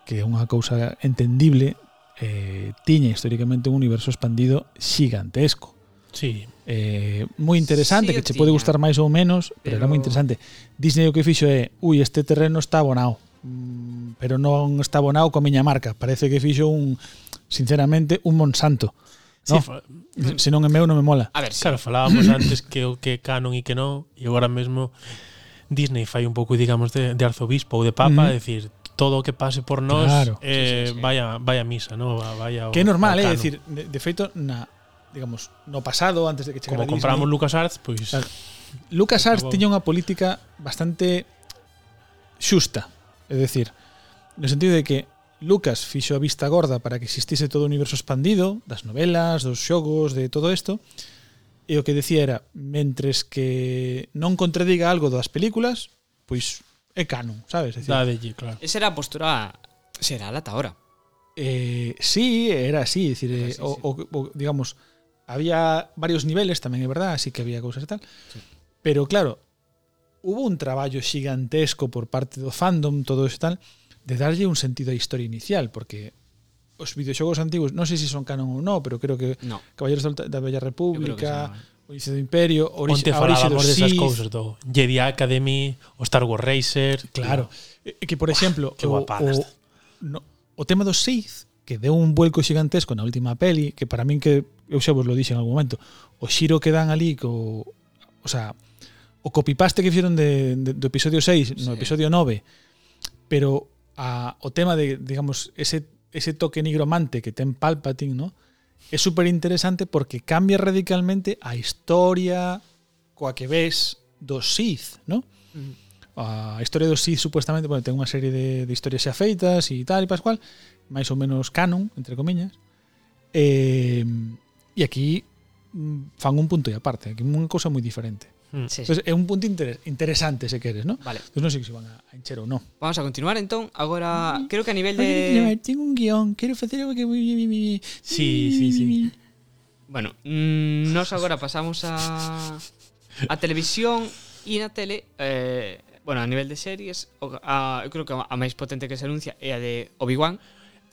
[SPEAKER 2] que é unha cousa entendible, eh, tiña históricamente un universo expandido xigantesco.
[SPEAKER 3] Sí.
[SPEAKER 2] Eh, moi interesante,
[SPEAKER 1] Sí,
[SPEAKER 2] que
[SPEAKER 1] o
[SPEAKER 2] che pode
[SPEAKER 1] tiña.
[SPEAKER 2] gustar máis ou menos, pero, pero era
[SPEAKER 1] Pero-
[SPEAKER 2] moi interesante. Disney o que fixo é, ui, este terreno está abonado, Mm, pero non está abonado coa miña marca. Parece que fixo un, sinceramente, un Monsanto.
[SPEAKER 3] sí
[SPEAKER 2] No.
[SPEAKER 3] fa-
[SPEAKER 2] Se non é meu, non me mola.
[SPEAKER 1] A ver, sí.
[SPEAKER 3] Claro, falábamos antes que o que é canon e que non, e agora mesmo Disney fai un pouco, digamos, de, de arzobispo ou de papa,
[SPEAKER 2] Ujú.
[SPEAKER 3] é dicir, todo o que pase por nós
[SPEAKER 2] Claro.
[SPEAKER 1] Sí,
[SPEAKER 3] eh,
[SPEAKER 1] sí, sí.
[SPEAKER 3] vai, a, vai a misa, ¿no? Va- vai ao,
[SPEAKER 2] Que é normal,
[SPEAKER 3] ao
[SPEAKER 2] é, eh?
[SPEAKER 3] canon.
[SPEAKER 2] decir, de, de feito, na, digamos, no pasado, antes de que chegara Disney,
[SPEAKER 3] Como compramos LucasArts, pois...
[SPEAKER 2] Claro. Lucas Arts
[SPEAKER 3] Acabou.
[SPEAKER 2] tiña unha política bastante xusta, é dicir, no sentido de que Lucas fixo a vista gorda para que existise todo o universo expandido, das novelas, dos xogos, de todo isto, e o que decía era, mentres que non contradiga algo das películas, pois é canon, sabes? É dicir,
[SPEAKER 3] Dadelle, claro.
[SPEAKER 1] Esa era a postura será la ahora.
[SPEAKER 2] Eh, sí, era así, es decir,
[SPEAKER 1] Era
[SPEAKER 2] eh,
[SPEAKER 1] así,
[SPEAKER 2] o,
[SPEAKER 1] sí.
[SPEAKER 2] o- o, digamos, había varios niveles tamén, é verdad, así que había cousas e tal. Pero claro, hubo un traballo xigantesco por parte do fandom, todo eso e tal, de darlle un sentido á historia inicial, porque os videoxogos antigos, non sei se son canon ou non, pero creo que
[SPEAKER 1] No.
[SPEAKER 2] Caballeros da da Bella
[SPEAKER 1] Eu creo que
[SPEAKER 2] República,
[SPEAKER 1] sí,
[SPEAKER 2] O Inicio do Imperio, Orixe,
[SPEAKER 3] Onte
[SPEAKER 2] a Orixe dos
[SPEAKER 3] falábamos desas
[SPEAKER 2] Sith,
[SPEAKER 3] cousas do Jedi Academy, o Star Wars Racer...
[SPEAKER 2] Claro. E- e Eh, Que, por exemplo,
[SPEAKER 3] que
[SPEAKER 2] o,
[SPEAKER 3] guapada
[SPEAKER 2] o,
[SPEAKER 3] esta.
[SPEAKER 2] no, o tema do Sith, que deu un vuelco xigantesco na última peli, que para min que eu xa vos lo dixen en algún momento, o xiro que dan ali co, o sea, o copipaste que fixeron de, de, do episodio 6 no
[SPEAKER 1] Sí.
[SPEAKER 2] episodio 9, pero a, o tema de, digamos, ese, ese toque nigromante que ten Palpatine, ¿no? É súper interesante porque cambia radicalmente a historia coa que ves do Sith, ¿no? a historia do Sith supuestamente, bueno, ten unha serie de, de historias xa feitas e tal e pascual, máis ou menos canon, entre comiñas. Eh, e aquí mm, fan un punto e aparte, aquí unha cousa moi diferente.
[SPEAKER 3] Mm.
[SPEAKER 1] Sí, sí.
[SPEAKER 2] Entonces, é un punto interes, interesante, se queres, ¿no?
[SPEAKER 1] Pues, Vale,
[SPEAKER 2] Entonces, non sei se van a, a encher ou non.
[SPEAKER 1] vamos a continuar entón. Agora, creo que a nivel de
[SPEAKER 2] tengo un guión, quero facer algo que...
[SPEAKER 3] Sí, sí, sí.
[SPEAKER 1] Bueno, mm, nos agora pasamos a a televisión e na tele eh, bueno, a nivel de series o- a, eu creo que a máis potente que se anuncia é a de Obi-Wan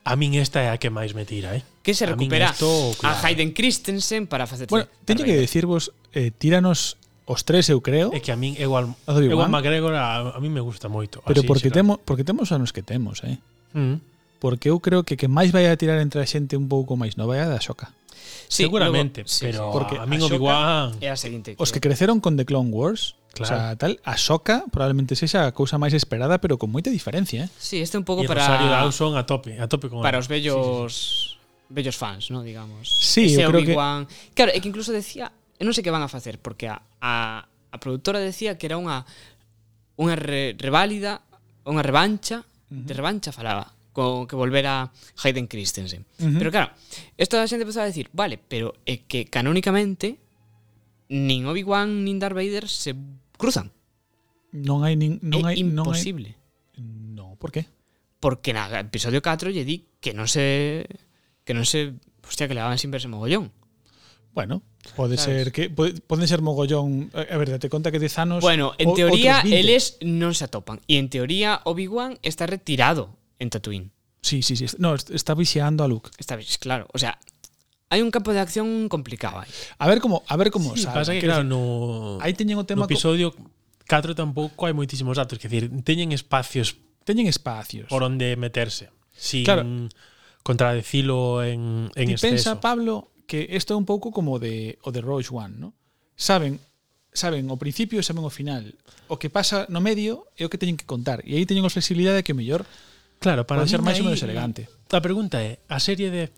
[SPEAKER 3] A min esta é a que máis me tira, eh?
[SPEAKER 1] que se
[SPEAKER 3] A min
[SPEAKER 1] recupera
[SPEAKER 3] isto,
[SPEAKER 1] a
[SPEAKER 3] claro.
[SPEAKER 1] Hayden Christensen para facer
[SPEAKER 2] Bueno, teño que decirvos, eh, tíranos os tres, eu creo,
[SPEAKER 3] É que a min igual
[SPEAKER 2] A do Obi-Wan?
[SPEAKER 3] igual McGregor a, a min me gusta moito.
[SPEAKER 1] Ah,
[SPEAKER 2] pero
[SPEAKER 3] así,
[SPEAKER 2] porque,
[SPEAKER 3] será.
[SPEAKER 2] temo, porque temos anos que temos, eh?
[SPEAKER 3] Mm.
[SPEAKER 2] porque eu creo que que máis vai a tirar entre a xente un pouco máis nova é a da Xoca.
[SPEAKER 1] Sí,
[SPEAKER 3] Seguramente,
[SPEAKER 1] luego- sí,
[SPEAKER 3] pero
[SPEAKER 2] sí. Porque
[SPEAKER 3] a min
[SPEAKER 1] Ahsoka
[SPEAKER 3] Obi-Wan...
[SPEAKER 1] sí, é a seguinte
[SPEAKER 2] Os que creceron con The Clone Wars, claro. o
[SPEAKER 3] Claro.
[SPEAKER 2] sea, tal, a Xoca probablemente sexa a cousa máis esperada, pero con moita diferencia, eh?
[SPEAKER 1] Sí, este é un pouco
[SPEAKER 3] Y
[SPEAKER 1] para
[SPEAKER 3] Rosario Dawson a tope, a tope con
[SPEAKER 1] para
[SPEAKER 3] él.
[SPEAKER 1] os bellos bellos fans, ¿no? digamos.
[SPEAKER 2] Sí,
[SPEAKER 1] Ese
[SPEAKER 2] eu creo que-
[SPEAKER 1] Obi-Wan- Claro, é que incluso decía, eu non sei que van a facer porque a a, a produtora decía que era unha unha re, reválida, unha revancha, de revancha falaba, con que volvera Hayden Christensen.
[SPEAKER 2] Ujú.
[SPEAKER 1] Pero claro, esto la gente empezó a decir, vale, pero é que canónicamente nin Obi-Wan nin Darth Vader se cruzan.
[SPEAKER 2] Non hai nin, non
[SPEAKER 1] é
[SPEAKER 2] hai non hai
[SPEAKER 1] imposible.
[SPEAKER 2] No, por qué?
[SPEAKER 1] porque na episodio 4 lle di que non se que non se, hostia, que le daban sin verse mogollón.
[SPEAKER 2] Bueno, pode
[SPEAKER 1] Sabes?
[SPEAKER 2] ser que pode, poden ser mogollón, eh, a ver, date conta que 10 anos
[SPEAKER 1] Bueno, en
[SPEAKER 2] o-
[SPEAKER 1] teoría
[SPEAKER 2] outros 20.
[SPEAKER 1] eles non se atopan e en teoría Obi-Wan está retirado en Tatooine.
[SPEAKER 2] Sí, sí, sí, no, est- está vixeando a Luke.
[SPEAKER 1] Esta vez, claro, o sea, hai un campo de acción complicado aí.
[SPEAKER 2] A ver como, a ver como
[SPEAKER 3] Sí,
[SPEAKER 2] sale.
[SPEAKER 3] pasa que
[SPEAKER 2] Quero
[SPEAKER 3] claro,
[SPEAKER 2] dicir,
[SPEAKER 3] no,
[SPEAKER 2] aí teñen o
[SPEAKER 3] no
[SPEAKER 2] tema co-
[SPEAKER 3] episodio 4 tampouco hai moitísimos datos, que decir, teñen espacios
[SPEAKER 2] Teñen espacios.
[SPEAKER 3] por onde meterse, sin
[SPEAKER 2] Claro.
[SPEAKER 3] contradecilo en, en
[SPEAKER 2] Ti
[SPEAKER 3] exceso.
[SPEAKER 2] pensa, Pablo, que isto é un pouco como o de o de Rogue One, ¿no? Saben, saben o principio e saben o final. O que pasa no medio é o que teñen que contar. E aí teñen a flexibilidade que o mellor
[SPEAKER 3] Claro, para
[SPEAKER 2] Pode ser
[SPEAKER 3] min
[SPEAKER 2] máis ou
[SPEAKER 3] Pois aí eh,
[SPEAKER 2] menos elegante.
[SPEAKER 3] A pregunta é, a serie de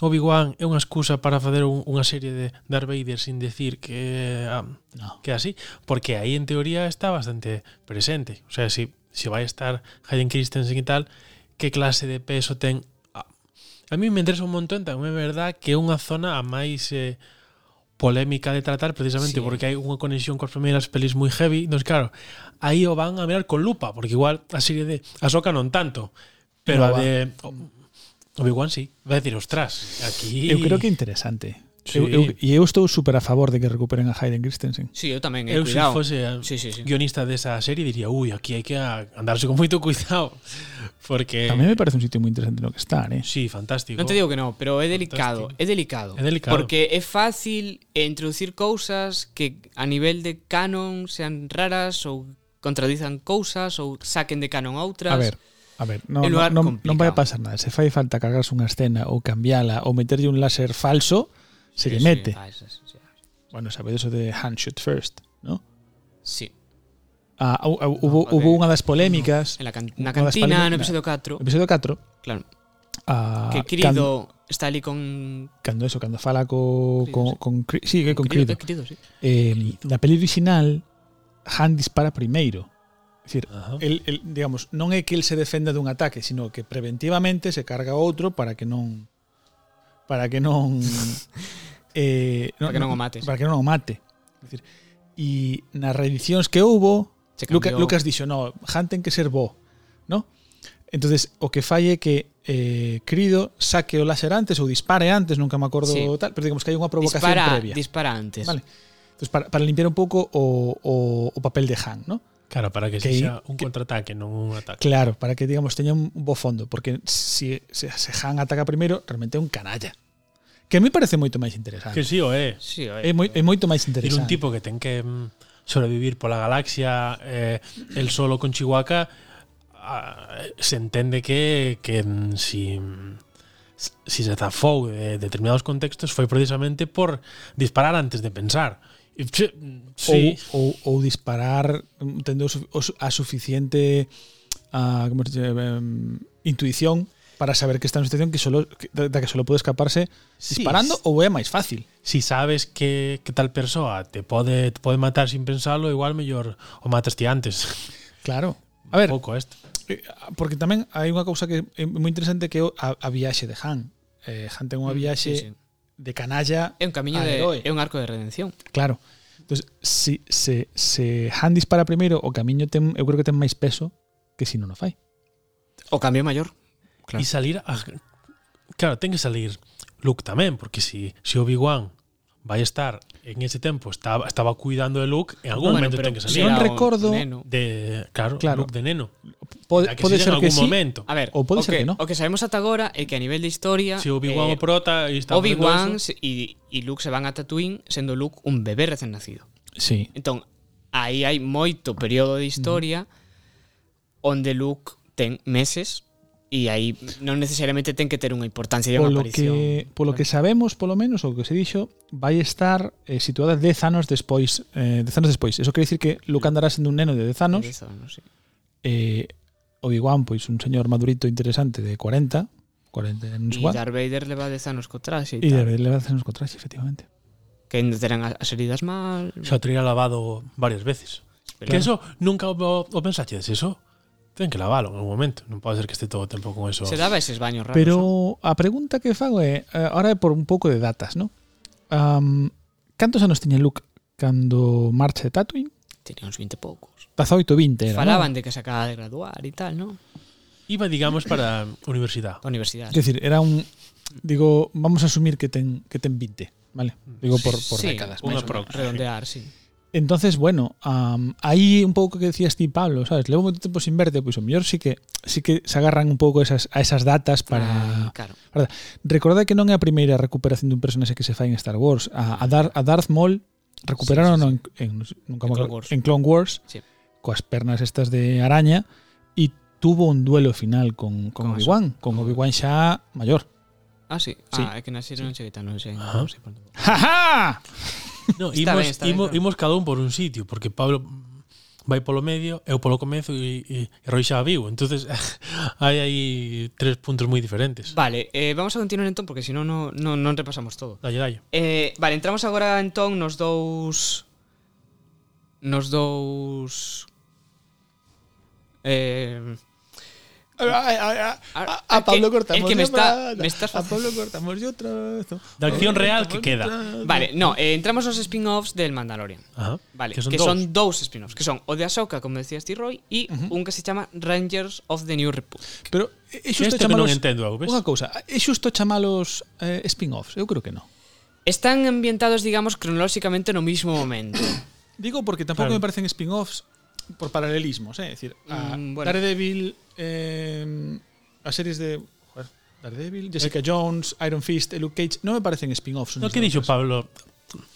[SPEAKER 3] Obi-Wan é unha excusa para fazer un, unha serie de Darth Vader sin decir que ah,
[SPEAKER 2] no.
[SPEAKER 3] que así, porque aí en teoría está bastante presente. O sea, si si vai a estar Hayden Christensen e tal, que clase de peso ten a, a mí me interesa un montón tamén é verdad que é unha zona a máis eh, polémica de tratar precisamente
[SPEAKER 1] Sí.
[SPEAKER 3] sí. porque hai unha conexión coas primeiras pelis moi heavy, entón claro, aí o van a mirar con lupa, porque igual a serie de Ahsoka non tanto,
[SPEAKER 2] No
[SPEAKER 3] pero a
[SPEAKER 2] va.
[SPEAKER 3] de Obi-Wan sí, vai a decir, ostras, aquí...
[SPEAKER 2] Eu creo que é interesante.
[SPEAKER 3] Sí.
[SPEAKER 2] Eu, eu, e eu estou super a favor de que recuperen a Hayden Christensen.
[SPEAKER 1] Sí, eu tamén, eh,
[SPEAKER 3] Eu se
[SPEAKER 1] cuidado.
[SPEAKER 3] fose a-
[SPEAKER 1] Sí, sí, sí.
[SPEAKER 3] guionista desa serie diría, ui, aquí hai que a- andarse con moito cuidado, porque
[SPEAKER 2] Tamén me parece un sitio moi interesante no que estar, eh?
[SPEAKER 3] sí, fantástico.
[SPEAKER 1] Non te digo que no, pero é delicado,
[SPEAKER 3] Fantástico.
[SPEAKER 1] é delicado.
[SPEAKER 3] É delicado.
[SPEAKER 1] Porque é fácil eh, introducir cousas que a nivel de canon sean raras ou contradizan cousas ou saquen de canon outras.
[SPEAKER 2] A ver, a ver, no,
[SPEAKER 1] El
[SPEAKER 2] no,
[SPEAKER 1] lugar
[SPEAKER 2] no,
[SPEAKER 1] complicado.
[SPEAKER 2] non vai a pasar nada. Se fai falta cargarse unha escena ou cambiala ou meterlle un láser falso, se
[SPEAKER 1] Sí,
[SPEAKER 2] lle
[SPEAKER 1] sí,
[SPEAKER 2] mete.
[SPEAKER 1] ah, eso, eso, eso.
[SPEAKER 2] Bueno, sabedes o de handshot first, ¿no?
[SPEAKER 1] Sí,
[SPEAKER 2] Ah, hou- hou- hubo,
[SPEAKER 1] joder.
[SPEAKER 2] hubo unha das polémicas
[SPEAKER 1] en la can na
[SPEAKER 2] Unha das
[SPEAKER 1] cantina,
[SPEAKER 2] palabras-
[SPEAKER 1] no episodio 4,
[SPEAKER 2] episodio 4
[SPEAKER 1] claro,
[SPEAKER 2] ah,
[SPEAKER 1] que Crido
[SPEAKER 2] cando,
[SPEAKER 1] está ali con...
[SPEAKER 2] cando eso, cando fala co,
[SPEAKER 1] Crido,
[SPEAKER 2] con,
[SPEAKER 1] sí.
[SPEAKER 2] con Cri- sí, que con
[SPEAKER 1] Crido,
[SPEAKER 2] Crido,
[SPEAKER 1] eh, Crido, sí.
[SPEAKER 2] eh, na peli original Han dispara primeiro é dicir,
[SPEAKER 3] Ajá.
[SPEAKER 2] el, el, digamos, non é que el se defenda dun ataque, sino que preventivamente se carga outro para que non para que
[SPEAKER 1] [laughs]
[SPEAKER 2] non eh,
[SPEAKER 1] Para que non o mates.
[SPEAKER 2] Para que non o mate. É dicir, e nas reedicións que houbo,
[SPEAKER 1] Se
[SPEAKER 2] Luca,
[SPEAKER 1] cambiou.
[SPEAKER 2] Lucas dixo, no, Han ten que ser bo, ¿no? Entonces, o que falle é que eh, Crido saque o láser antes ou dispare antes, nunca me acordo
[SPEAKER 1] Sí.
[SPEAKER 2] tal, pero digamos que hai unha provocación
[SPEAKER 1] Dispara,
[SPEAKER 2] previa.
[SPEAKER 1] dispara antes.
[SPEAKER 2] Vale. Entonces, para, para limpiar un pouco o, o, o papel de Han, ¿no?
[SPEAKER 3] Claro, para que,
[SPEAKER 2] Que aí-
[SPEAKER 3] sexa un
[SPEAKER 2] que-
[SPEAKER 3] contraataque, non un ataque.
[SPEAKER 2] Claro, para que digamos teña un bo fondo, porque se si, se, se Han ataca primeiro, realmente é un canalla. Que a mí parece moito máis
[SPEAKER 3] Que
[SPEAKER 2] interesante.
[SPEAKER 3] sí, o é.
[SPEAKER 1] Sí, a ver,
[SPEAKER 2] É, moi, é moito máis
[SPEAKER 3] Ir
[SPEAKER 2] interesante.
[SPEAKER 3] un tipo que ten que mm, sobrevivir pola galaxia eh, el solo con Chihuahua ah, se entende que que mm, si mm, si se zafou de determinados contextos foi precisamente por disparar antes de pensar. E, che, mm, Sí,
[SPEAKER 2] ou, ou, ou disparar mm, tendo o su- o su- a suficiente a, como se dice, em, intuición para saber que está en unha situación que solo que, da da que solo pode escaparse
[SPEAKER 3] Sí,
[SPEAKER 2] disparando
[SPEAKER 3] es-
[SPEAKER 2] ou é máis fácil.
[SPEAKER 3] si sabes que, que tal persoa te pode te pode matar sin pensarlo, igual mellor o matas ti
[SPEAKER 1] [laughs]
[SPEAKER 3] antes.
[SPEAKER 2] Claro. A ver,
[SPEAKER 3] pouco este.
[SPEAKER 2] Eh, porque tamén hai unha cousa que é moi interesante que é o- a, a viaxe de Han. Eh, Han ten
[SPEAKER 3] Mm,
[SPEAKER 2] unha
[SPEAKER 1] sí,
[SPEAKER 2] viaxe
[SPEAKER 1] sí.
[SPEAKER 2] de canalla,
[SPEAKER 1] É un camiño
[SPEAKER 2] a
[SPEAKER 1] de...
[SPEAKER 2] heroe.
[SPEAKER 1] É un arco de redención.
[SPEAKER 2] claro. Entonces, si se, se Han dispara primeiro, o camiño ten, eu creo que ten máis peso que se si non o fai.
[SPEAKER 1] O cambio maior. Claro.
[SPEAKER 3] E salir a... Claro, ten que salir Luke tamén, porque si, si Obi-Wan vai estar en ese tempo estaba, estaba cuidando de Luke, en algún
[SPEAKER 1] Bueno,
[SPEAKER 3] momento
[SPEAKER 1] pero
[SPEAKER 3] ten que
[SPEAKER 1] si
[SPEAKER 3] salir.
[SPEAKER 2] non
[SPEAKER 1] era un
[SPEAKER 2] recordo-
[SPEAKER 1] neno.
[SPEAKER 3] De, claro,
[SPEAKER 2] Claro.
[SPEAKER 3] Luke de neno.
[SPEAKER 2] Pode,
[SPEAKER 3] A que
[SPEAKER 2] pode
[SPEAKER 3] sexa
[SPEAKER 2] ser
[SPEAKER 3] en
[SPEAKER 2] que
[SPEAKER 3] algún
[SPEAKER 2] sí,
[SPEAKER 3] momento.
[SPEAKER 1] A ver,
[SPEAKER 2] O
[SPEAKER 1] o
[SPEAKER 2] pode ser que no.
[SPEAKER 1] O que sabemos ata agora é que a nivel de historia
[SPEAKER 3] Si
[SPEAKER 1] eh,
[SPEAKER 3] Obi-Wan o prota e está
[SPEAKER 1] Obi-Wan
[SPEAKER 3] facendo eso,
[SPEAKER 1] se- e, e Luke se van a Tatooine sendo Luke un bebé recén nacido.
[SPEAKER 2] Sí.
[SPEAKER 1] Entón, aí hai moito período de historia onde Luke ten meses e aí non necesariamente ten que ter unha importancia e unha
[SPEAKER 2] Polo
[SPEAKER 1] aparición.
[SPEAKER 2] que, polo que sabemos, polo menos, o que se dixo, vai estar eh, situada 10 anos despois, eh, 10 anos despois. Eso quere dicir que Luke andará sendo un neno de 10 anos,
[SPEAKER 1] Eso, non sei.
[SPEAKER 2] eh, Obi-Wan, pois un señor madurito interesante de 40, 40
[SPEAKER 1] E
[SPEAKER 2] non sei cuá,
[SPEAKER 1] Darth Vader leva 10 anos co traxe e
[SPEAKER 2] e de
[SPEAKER 1] tal.
[SPEAKER 2] le va a hacer unos contraste, efectivamente.
[SPEAKER 1] Que ainda terán as as heridas mal.
[SPEAKER 3] xa o teria lavado varias veces.
[SPEAKER 1] pero-
[SPEAKER 3] Que eso, nunca o, o pensaches eso? Ten que lavalo en algún momento. Non pode ser que este todo o tempo con eso.
[SPEAKER 1] se daba eses baños raros. non?
[SPEAKER 2] Pero a pregunta que fago é, eh, ahora é por un pouco de datas, ¿no? Um, cantos anos tiña Luke cando marcha de Tatooine?
[SPEAKER 1] Tenía uns 20 e poucos.
[SPEAKER 2] 18 20 era,
[SPEAKER 1] Falaban
[SPEAKER 2] ¿no?
[SPEAKER 1] de que se acaba de graduar e tal, non?
[SPEAKER 3] Iba, digamos,
[SPEAKER 1] [coughs]
[SPEAKER 3] para a universidade.
[SPEAKER 1] Da universidade.
[SPEAKER 2] Es decir, era un digo, vamos a asumir que ten que ten 20, ¿vale? Digo por por
[SPEAKER 1] Sí,
[SPEAKER 2] décadas,
[SPEAKER 3] unha
[SPEAKER 2] máis ou
[SPEAKER 3] pro-
[SPEAKER 1] Redondear, sí.
[SPEAKER 2] Entonces, bueno, am, aí un pouco que decías ti, Pablo, sabes, levo moito tempo sin verte, pois o mellor sí que sí que se agarran un pouco esas, a esas datas
[SPEAKER 1] Ah,
[SPEAKER 2] para...
[SPEAKER 1] claro.
[SPEAKER 2] Recordad que non é a primeira recuperación dun personaxe que se fai en Star Wars. A, a, Dar, a Darth Maul recuperaron En, en- nunca me
[SPEAKER 1] En Clone
[SPEAKER 2] acuerdo,
[SPEAKER 1] Wars.
[SPEAKER 2] en Clone Wars
[SPEAKER 1] Sí.
[SPEAKER 2] coas pernas estas de araña y tuvo un duelo final con, con
[SPEAKER 1] Con
[SPEAKER 2] Obi-Wan, con Obi-Wan ya mayor. [laughs]
[SPEAKER 1] Ah, sí.
[SPEAKER 2] Sí.
[SPEAKER 1] Ah, é que nacieron en Cheguita, non sei.
[SPEAKER 3] Ajá.
[SPEAKER 1] Non sei por onde.
[SPEAKER 2] ¡Ja, ja!
[SPEAKER 3] No,
[SPEAKER 1] Está
[SPEAKER 3] imos,
[SPEAKER 1] ben, está ben,
[SPEAKER 3] imos,
[SPEAKER 1] claro.
[SPEAKER 3] imos cada un por un sitio, porque Pablo vai polo medio, eu polo comezo e, e, e Roy xa vivo. entonces [laughs] hai aí tres puntos moi diferentes.
[SPEAKER 1] Vale, eh, vamos a continuar entón, porque senón non, non, non repasamos todo.
[SPEAKER 3] Dalle, dalle.
[SPEAKER 1] Eh, vale, entramos agora entón nos dous nos dous eh,
[SPEAKER 2] A, a- a-
[SPEAKER 1] A-
[SPEAKER 2] a- a
[SPEAKER 1] a
[SPEAKER 2] Pablo
[SPEAKER 1] que-
[SPEAKER 2] Cortamos.
[SPEAKER 1] el que me
[SPEAKER 2] de
[SPEAKER 1] está-
[SPEAKER 2] otra,
[SPEAKER 1] me estás
[SPEAKER 2] a
[SPEAKER 1] haciendo-
[SPEAKER 2] Pablo Cortamos yo trazo.
[SPEAKER 3] Da acción real que queda.
[SPEAKER 1] vale, no, eh, entramos nos spin-offs del Mandalorian.
[SPEAKER 3] Ajá.
[SPEAKER 1] Vale,
[SPEAKER 3] que son
[SPEAKER 1] que
[SPEAKER 3] dous.
[SPEAKER 1] son dous spin-offs, que son o de Ahsoka, como decías ti, Roy, e un que se chama Rangers of the New Republic.
[SPEAKER 2] Pero é xusto
[SPEAKER 3] Este que non
[SPEAKER 2] chamalos
[SPEAKER 3] entendo, eu, ves?
[SPEAKER 2] Unha cousa, é xusto chamalos eh, spin-offs? Eu creo que non.
[SPEAKER 1] Están ambientados, digamos, cronolóxicamente no mismo
[SPEAKER 3] [coughs]
[SPEAKER 1] momento.
[SPEAKER 2] Digo porque tampouco me
[SPEAKER 3] Claro.
[SPEAKER 2] parecen spin-offs por paralelismos, eh? é dicir, a
[SPEAKER 1] Mm, bueno.
[SPEAKER 2] Daredevil eh, as series de joder, Daredevil, Jessica Jones, Iron Fist, e Luke Cage, non me parecen spin-offs.
[SPEAKER 3] Eh. No que dixo Pablo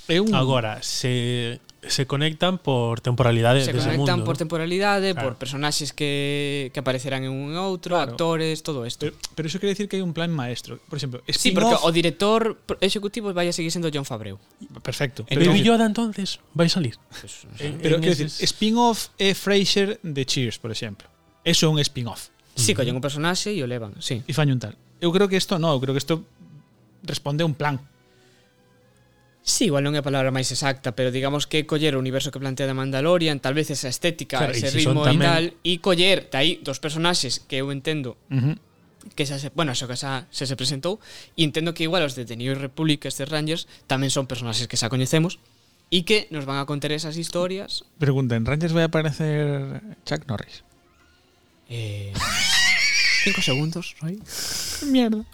[SPEAKER 2] É un
[SPEAKER 3] agora, se se conectan por temporalidade
[SPEAKER 1] se
[SPEAKER 3] dese
[SPEAKER 1] conectan
[SPEAKER 3] mundo.
[SPEAKER 1] por temporalidade, por
[SPEAKER 3] Claro.
[SPEAKER 1] personaxes que, que aparecerán en un e outro,
[SPEAKER 2] Claro.
[SPEAKER 1] actores, todo isto.
[SPEAKER 2] Pero, pero iso quere dicir que hai un plan maestro. Por exemplo,
[SPEAKER 1] Sí, porque
[SPEAKER 2] spin-off...
[SPEAKER 1] o director pro- executivo vai a seguir sendo John Fabreu.
[SPEAKER 2] Perfecto.
[SPEAKER 3] En
[SPEAKER 2] Pero,
[SPEAKER 3] Baby Yoda entonces vai salir. En-
[SPEAKER 2] pero
[SPEAKER 3] en
[SPEAKER 2] quero dicir,
[SPEAKER 3] eses-
[SPEAKER 2] spin-off é Frasier de Cheers, por exemplo. Eso é un spin-off.
[SPEAKER 1] Sí, collen un personaxe e o levan, sí.
[SPEAKER 2] E faño un tal. Eu creo que isto non, eu creo que isto responde a un plan.
[SPEAKER 1] Sí, igual non é a palabra máis exacta, pero digamos que coller o universo que plantea da Mandalorian, tal vez esa estética,
[SPEAKER 3] Claro,
[SPEAKER 1] claro, ese
[SPEAKER 3] e si son
[SPEAKER 1] ritmo e
[SPEAKER 3] tamén-
[SPEAKER 1] tal, e coller aí dos personaxes que eu entendo
[SPEAKER 2] Uh -huh.
[SPEAKER 1] que xa se, bueno, eso que xa, xa se presentou, e entendo que igual os de The New Republic, estes Rangers, tamén son personaxes que xa coñecemos e que nos van a contar esas historias
[SPEAKER 2] Pregunta, en Rangers vai a aparecer Chuck Norris.
[SPEAKER 3] [laughs]
[SPEAKER 1] Eh, cinco segundos, Roy.
[SPEAKER 2] Mierda.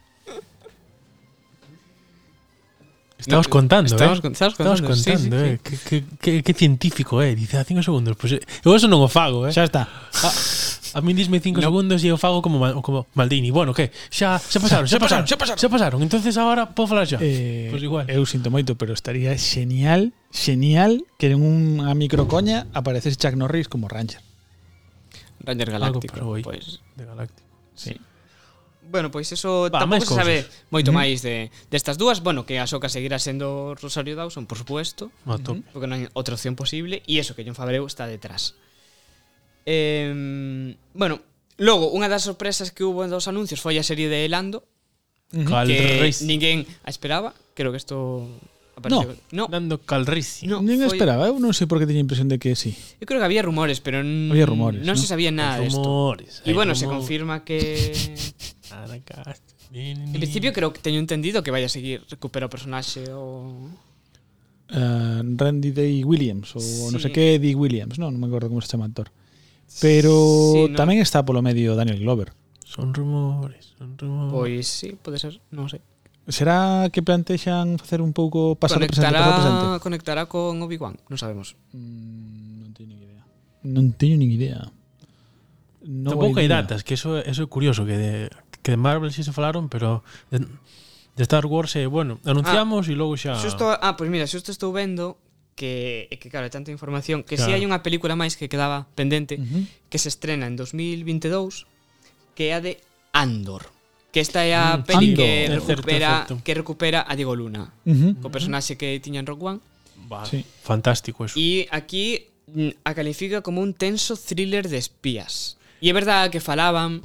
[SPEAKER 3] Estamos contando,
[SPEAKER 1] Estamos
[SPEAKER 3] eh?
[SPEAKER 1] con- estamos
[SPEAKER 3] Estamos
[SPEAKER 1] contando, sí,
[SPEAKER 3] contando,
[SPEAKER 1] sí,
[SPEAKER 3] eh? Que, que, que, que científico, eh? Dice, a 5 segundos. Pues, eh, eu eso non o fago, eh?
[SPEAKER 2] Xa está.
[SPEAKER 3] A mí disme 5 segundos e eu fago como, Ma- como Maldini. Bueno, que? Xa, xa pasaron, xa, pasaron, xa pasaron. Xa pasaron. Entonces agora podo falar xa.
[SPEAKER 2] Eh,
[SPEAKER 3] Pois Pues igual.
[SPEAKER 2] Eu sinto moito, pero estaría genial, genial que en unha microcoña aparecese Chuck Norris como Ranger.
[SPEAKER 1] Ranger
[SPEAKER 3] Algo
[SPEAKER 1] Galáctico.
[SPEAKER 3] para hoy.
[SPEAKER 1] Pois,
[SPEAKER 3] De Galáctico.
[SPEAKER 2] Sí.
[SPEAKER 1] bueno, pois eso Va,
[SPEAKER 3] Va,
[SPEAKER 1] tampouco
[SPEAKER 3] máis
[SPEAKER 1] se
[SPEAKER 3] cousas.
[SPEAKER 1] sabe moito
[SPEAKER 2] Ujú.
[SPEAKER 1] máis de destas dúas, bueno, que Ahsoka seguirá sendo Rosario Dawson, por supuesto,
[SPEAKER 3] No, top.
[SPEAKER 1] porque non hai outra opción posible e eso que John Favreau está detrás. Eh, bueno, logo unha das sorpresas que hubo dos anuncios foi a serie de Lando,
[SPEAKER 3] Cal
[SPEAKER 1] que
[SPEAKER 3] Reis.
[SPEAKER 1] ninguén a esperaba, creo que isto apareceu. No, no,
[SPEAKER 3] Dando Calrisi.
[SPEAKER 1] no
[SPEAKER 2] Nin
[SPEAKER 1] foi-
[SPEAKER 2] esperaba, eu non sei por que teña a impresión de que sí.
[SPEAKER 1] Eu creo que había rumores, pero n-
[SPEAKER 2] Había rumores,
[SPEAKER 1] non
[SPEAKER 2] ¿no?
[SPEAKER 1] se sabía nada de esto.
[SPEAKER 3] rumores.
[SPEAKER 1] Y bueno, se confirma que.
[SPEAKER 3] En
[SPEAKER 1] En principio, creo que teño entendido que vaya a seguir recupera o personaxe o.
[SPEAKER 2] Eh, Randy Day Williams ou
[SPEAKER 1] Sí.
[SPEAKER 2] non sei que Day Williams, non, non me acordo como se chama o actor. Pero
[SPEAKER 1] Sí, no.
[SPEAKER 2] tamén está polo medio Daniel Glover.
[SPEAKER 3] Son rumores, son rumores.
[SPEAKER 1] Pois sí, pode ser, non sei.
[SPEAKER 2] Será que plantexan facer un pouco pasar do presente, pasar do presente?
[SPEAKER 1] Conectará, conectará con Obi-Wan, non sabemos.
[SPEAKER 2] Mm, Non teño nin idea. Non teño nin idea. No
[SPEAKER 3] Tampouco hai datas, que eso, eso é curioso, que de, que de Marvel si se falaron, pero de, de Star Wars, eh, bueno,
[SPEAKER 1] Ah.
[SPEAKER 3] anunciamos e logo xa...
[SPEAKER 1] Xusto, ah, pois mira, xusto estou vendo que, é que claro, hai tanta información que si
[SPEAKER 3] Claro.
[SPEAKER 1] hai unha película máis que quedaba pendente
[SPEAKER 2] Uh -huh.
[SPEAKER 1] que se estrena en 2022 que é a de Andor. Que esta é a
[SPEAKER 3] Mm,
[SPEAKER 1] peli
[SPEAKER 2] Andor.
[SPEAKER 1] que
[SPEAKER 3] É certo, é
[SPEAKER 1] recupera,
[SPEAKER 3] certo.
[SPEAKER 1] que recupera a Diego Luna,
[SPEAKER 2] Uh -huh.
[SPEAKER 1] co personaxe que tiña en Rogue One.
[SPEAKER 3] Va,
[SPEAKER 2] Sí.
[SPEAKER 3] Fantástico eso.
[SPEAKER 1] Y aquí mm, a califica como un tenso thriller de espías. Y es verdad que falaban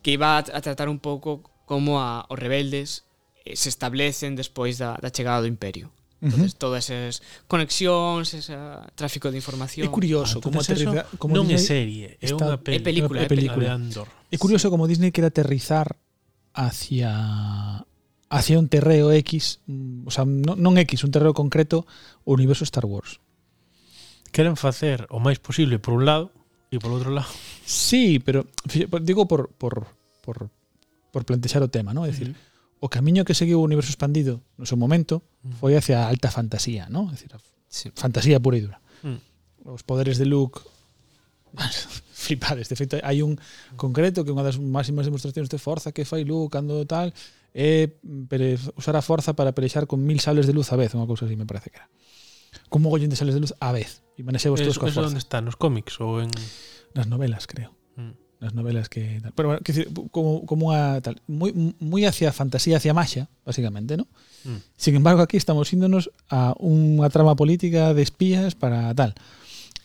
[SPEAKER 1] que iba a, a tratar un pouco como a, os rebeldes eh, se establecen despois da, da chegada do imperio. Entonces, todas esas conexións, ese tráfico de información.
[SPEAKER 2] É curioso como
[SPEAKER 3] Entonces eso
[SPEAKER 2] aterriza, como
[SPEAKER 3] non é
[SPEAKER 2] Disney,
[SPEAKER 3] serie, é
[SPEAKER 2] está-
[SPEAKER 3] unha
[SPEAKER 1] É
[SPEAKER 3] peli,
[SPEAKER 1] película, é
[SPEAKER 3] a
[SPEAKER 1] película.
[SPEAKER 3] de Andor.
[SPEAKER 2] é curioso como Disney quere aterrizar hacia hacia un terreo X, mm, o sea, non, non X, un terreo concreto, o universo Star Wars.
[SPEAKER 3] Queren facer o máis posible por un lado e por outro lado.
[SPEAKER 2] Sí, pero fixe- por- digo por por por por plantexar o tema, ¿no? É dicir, o camiño que seguiu o universo expandido no seu momento foi hacia a alta fantasía, ¿no? É dicir, a
[SPEAKER 1] Sí.
[SPEAKER 2] fantasía pura e dura.
[SPEAKER 3] [laughs] Mm.
[SPEAKER 2] Os poderes de Luke [laughs] flipades, de feito hai un concreto que é unha das máximas demostracións de forza que fai Luke cando tal é pere- usar a forza para pelexar con mil sables de luz a vez, unha cousa así me parece que era. cun mogollón de sales de luz á vez. E manexemos todos
[SPEAKER 3] Eso,
[SPEAKER 2] coa
[SPEAKER 3] eso
[SPEAKER 2] forza.
[SPEAKER 3] dónde está, nos cómics ou en
[SPEAKER 2] Nas novelas, creo.
[SPEAKER 3] Mm.
[SPEAKER 2] Nas novelas que tal. Pero bueno, quer dicir, como, como unha tal, moi, moi hacia fantasía, hacia maxa, basicamente, ¿no?
[SPEAKER 3] Mm.
[SPEAKER 2] Sin embargo, aquí estamos índonos a unha trama política de espías para tal.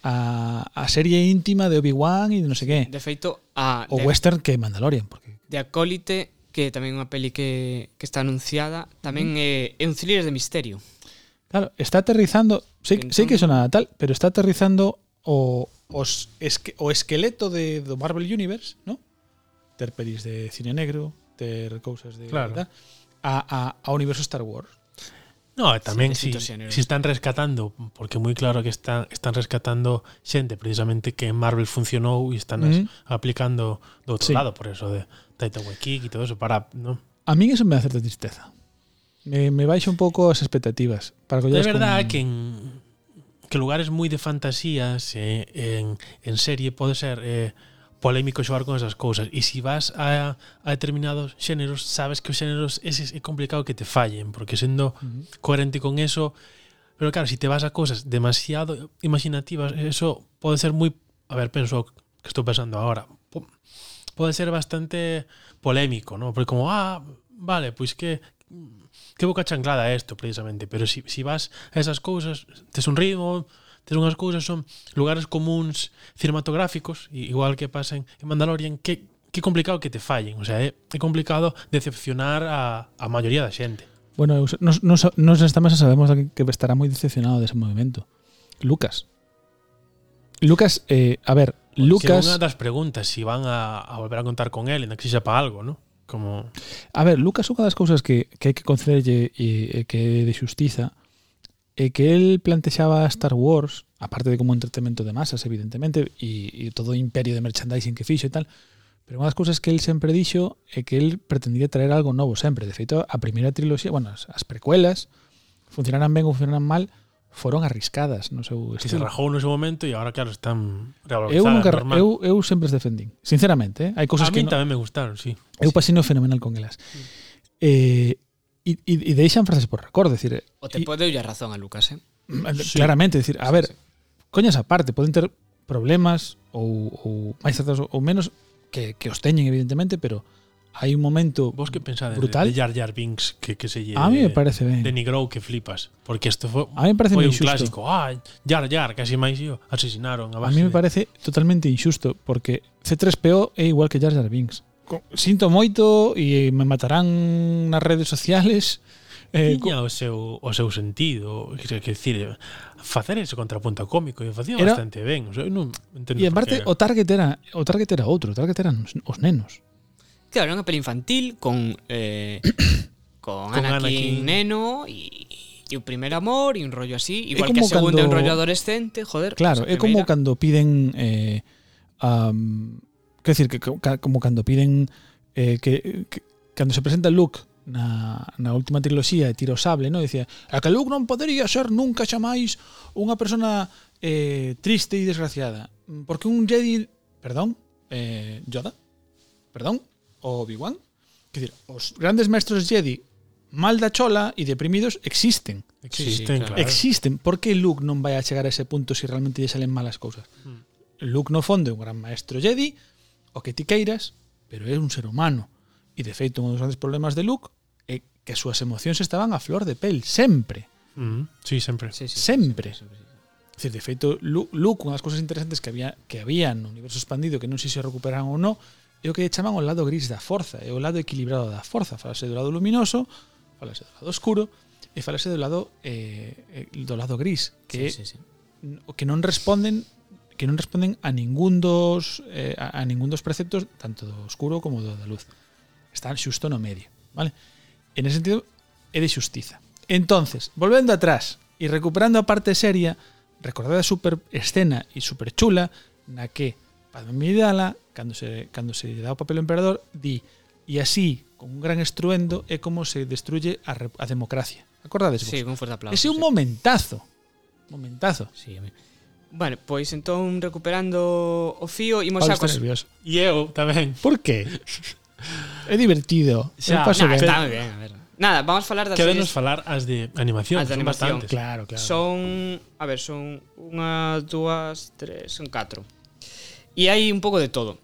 [SPEAKER 2] A, a serie íntima de Obi-Wan e de non sei que.
[SPEAKER 1] De feito, a,
[SPEAKER 2] O
[SPEAKER 1] de,
[SPEAKER 2] western que Mandalorian, porque
[SPEAKER 1] de Acólite, que tamén é unha peli que, que está anunciada, tamén é, é un thriller de misterio.
[SPEAKER 2] Claro, está aterrizando. Sei,
[SPEAKER 1] Entón-
[SPEAKER 2] sei que sona a tal, pero está aterrizando o, os esque- o esqueleto de, do Marvel Universe, ¿no? Ter pelis de cine negro, ter cousas de
[SPEAKER 3] Claro.
[SPEAKER 2] tal, a, a, a universo Star Wars.
[SPEAKER 3] No, e tamén
[SPEAKER 1] Sí,
[SPEAKER 3] si,
[SPEAKER 1] distintos xéneros.
[SPEAKER 3] si están rescatando, porque moi claro que están están rescatando xente precisamente que en Marvel funcionou e están as,
[SPEAKER 2] Mm.
[SPEAKER 3] aplicando do outro
[SPEAKER 2] Sí.
[SPEAKER 3] lado, por eso de Taika Waititi e todo eso para, ¿no?
[SPEAKER 2] A mí eso me da certa tristeza. Me, me baixa un pouco as expectativas. Para
[SPEAKER 3] É
[SPEAKER 2] collelas con-
[SPEAKER 3] verdade que en que lugares moi de fantasías eh, en, en serie pode ser eh, polémico xogar con esas cousas e se si vas a, a determinados xéneros sabes que os xéneros eses é complicado que te fallen porque sendo
[SPEAKER 2] Ujú.
[SPEAKER 3] coherente con eso pero claro, se si te vas a cousas demasiado imaginativas eso pode ser moi a ver, penso que estou pensando agora po- pode ser bastante polémico, ¿no? Porque como, ah, vale, pois que que boca chanclada é isto precisamente, pero si, si vas a esas cousas, tes un ritmo, tes unhas cousas, son lugares comuns cinematográficos, i- igual que pasen en Mandalorian, que que complicado que te fallen, o sea, é, é complicado decepcionar a, a maioría da xente.
[SPEAKER 2] Bueno, eu so- nos, nos, nos esta mesa sabemos que, que estará moi decepcionado dese movimento. Lucas. Lucas, eh, a ver, Lucas...
[SPEAKER 3] Pues Que é unha das preguntas, si van a, a volver a contar con él, en que sexa para algo, ¿no? Como,
[SPEAKER 2] A ver, Lucas, unha das cousas que, que hai que concederlle e, e que é de xustiza é que el plantexaba Star Wars, aparte de como entretenimento de masas, evidentemente, e, e todo o imperio de merchandising que fixo e tal, pero unha das cousas que el sempre dixo é que el pretendía traer algo novo sempre. De feito, a primeira triloxía, bueno, as, as precuelas, funcionaran ben ou funcionaran mal, foron arriscadas no seu
[SPEAKER 3] que se
[SPEAKER 2] estilo.
[SPEAKER 3] rajou no seu momento e agora, claro, están
[SPEAKER 2] Eu,
[SPEAKER 3] revalorizadas,
[SPEAKER 2] nunca,
[SPEAKER 3] normal.
[SPEAKER 2] eu, eu sempre as defendín, sinceramente, eh? hai cousas
[SPEAKER 3] a
[SPEAKER 2] que
[SPEAKER 3] mí
[SPEAKER 2] no-
[SPEAKER 3] tamén me gustaron, sí.
[SPEAKER 2] Eu pasino fenomenal con elas. Eh, e, e, e deixan frases por record, decir,
[SPEAKER 1] O te
[SPEAKER 2] Y-
[SPEAKER 1] pode deulle a razón a Lucas, eh?
[SPEAKER 2] sí. mm, claramente, decir, a
[SPEAKER 1] sí.
[SPEAKER 2] ver, coñas aparte, poden ter problemas ou, ou máis certas ou menos que, que os teñen, evidentemente, pero hai un momento
[SPEAKER 3] Vos que pensades
[SPEAKER 2] Brutal.
[SPEAKER 3] de, de Jar Jar Binks que, que se lle
[SPEAKER 2] a mí me parece ben.
[SPEAKER 3] denigrou que flipas, porque isto foi
[SPEAKER 2] A mí me parece
[SPEAKER 3] foi
[SPEAKER 2] moi
[SPEAKER 3] un
[SPEAKER 2] injusto.
[SPEAKER 3] clásico. Ah, Jar Jar, casi máis yo, asesinaron a
[SPEAKER 2] A
[SPEAKER 3] base.
[SPEAKER 2] mí me
[SPEAKER 3] de-
[SPEAKER 2] parece totalmente injusto porque C3PO é igual que Jar Jar Binks. Co- Sinto moito e me matarán nas redes sociales. Eh, co-
[SPEAKER 3] tiña o seu o seu sentido, que que decir, facer ese contrapunto cómico e facía
[SPEAKER 2] Era-
[SPEAKER 3] bastante ben, o sea, eu non entendo
[SPEAKER 2] e en parte o
[SPEAKER 3] por
[SPEAKER 2] target era o target era outro, o target eran os, os nenos.
[SPEAKER 1] Claro, é unha peli infantil con
[SPEAKER 2] [coughs]
[SPEAKER 1] eh, con,
[SPEAKER 3] Con Anakin.
[SPEAKER 1] Anakin, neno e, e o primer amor e un rollo así,
[SPEAKER 2] É
[SPEAKER 1] igual que a
[SPEAKER 2] como
[SPEAKER 1] segunda é un
[SPEAKER 2] cando-
[SPEAKER 1] rollo adolescente, joder. pues
[SPEAKER 2] Claro,
[SPEAKER 1] pois a
[SPEAKER 2] é como
[SPEAKER 1] primeira-
[SPEAKER 2] cando piden eh am, quero decir que co- ca- como cando piden eh, que, que cando se presenta Luke na, na última triloxía e tira o sable, no, dicía, a que Luke non podería ser nunca xamais unha persona eh, triste e desgraciada, porque un Jedi, perdón, eh, Yoda, perdón, o Obi-Wan, quer decir, os grandes maestros Jedi mal da chola e deprimidos existen.
[SPEAKER 3] existen,
[SPEAKER 1] Sí, sí, claro.
[SPEAKER 3] claro.
[SPEAKER 2] Existen. Por que Luke non vai a chegar a ese punto se realmente lle salen malas cousas?
[SPEAKER 3] Mm.
[SPEAKER 1] Hmm.
[SPEAKER 2] Luke no fondo é un gran maestro Jedi, o que ti queiras, pero é un ser humano. E de feito, un dos grandes problemas de Luke é que as súas emocións estaban a flor de pel, sempre.
[SPEAKER 3] Mm, sí, sempre.
[SPEAKER 1] Sí, sí, sí,
[SPEAKER 2] Sempre.
[SPEAKER 1] sí, sí, sí.
[SPEAKER 2] É dicir, de feito, Lu- Luke, unha das cousas interesantes que había que había no universo expandido, que non sei se o recuperaron ou non, é o que lle chaman o lado gris da forza, é o lado equilibrado da forza. Falase do lado luminoso, falase do lado oscuro, e falase do lado eh, eh, do lado gris, que
[SPEAKER 1] Sí, sí, sí.
[SPEAKER 2] o que non responden que non responden a ningún dos eh, a, a ningún dos preceptos tanto do oscuro como do da luz. Están xusto no medio, vale? En ese sentido é de xustiza. Entonces, volvendo atrás e recuperando a parte seria, recordade a super escena e super chula na que Padme Amidala, cando se cando se lle dá o papel ao emperador, di e así, con un gran estruendo, é como se destruye a, re- a democracia. Acordades vos?
[SPEAKER 1] Sí, con fuerte aplauso.
[SPEAKER 2] Ese é
[SPEAKER 1] sí.
[SPEAKER 2] un momentazo. Momentazo.
[SPEAKER 1] Sí, a mí. Vale, pois entón recuperando o fío imos
[SPEAKER 2] Pablo
[SPEAKER 1] xa
[SPEAKER 2] está
[SPEAKER 1] cos...
[SPEAKER 2] nervioso.
[SPEAKER 3] E eu tamén.
[SPEAKER 2] ¿Por qué? É divertido. Eu
[SPEAKER 3] Xa,
[SPEAKER 2] paso
[SPEAKER 1] Nah,
[SPEAKER 3] [laughs]
[SPEAKER 2] ben.
[SPEAKER 1] está moi ben, a ver. Nada, vamos falar das
[SPEAKER 3] Que venos
[SPEAKER 1] series
[SPEAKER 3] falar as de animación,
[SPEAKER 1] As de
[SPEAKER 3] que son
[SPEAKER 1] animación.
[SPEAKER 3] bastantes.
[SPEAKER 2] Claro, claro.
[SPEAKER 1] Son, a ver, son unha, dúas, tres, son catro. E hai un pouco de todo.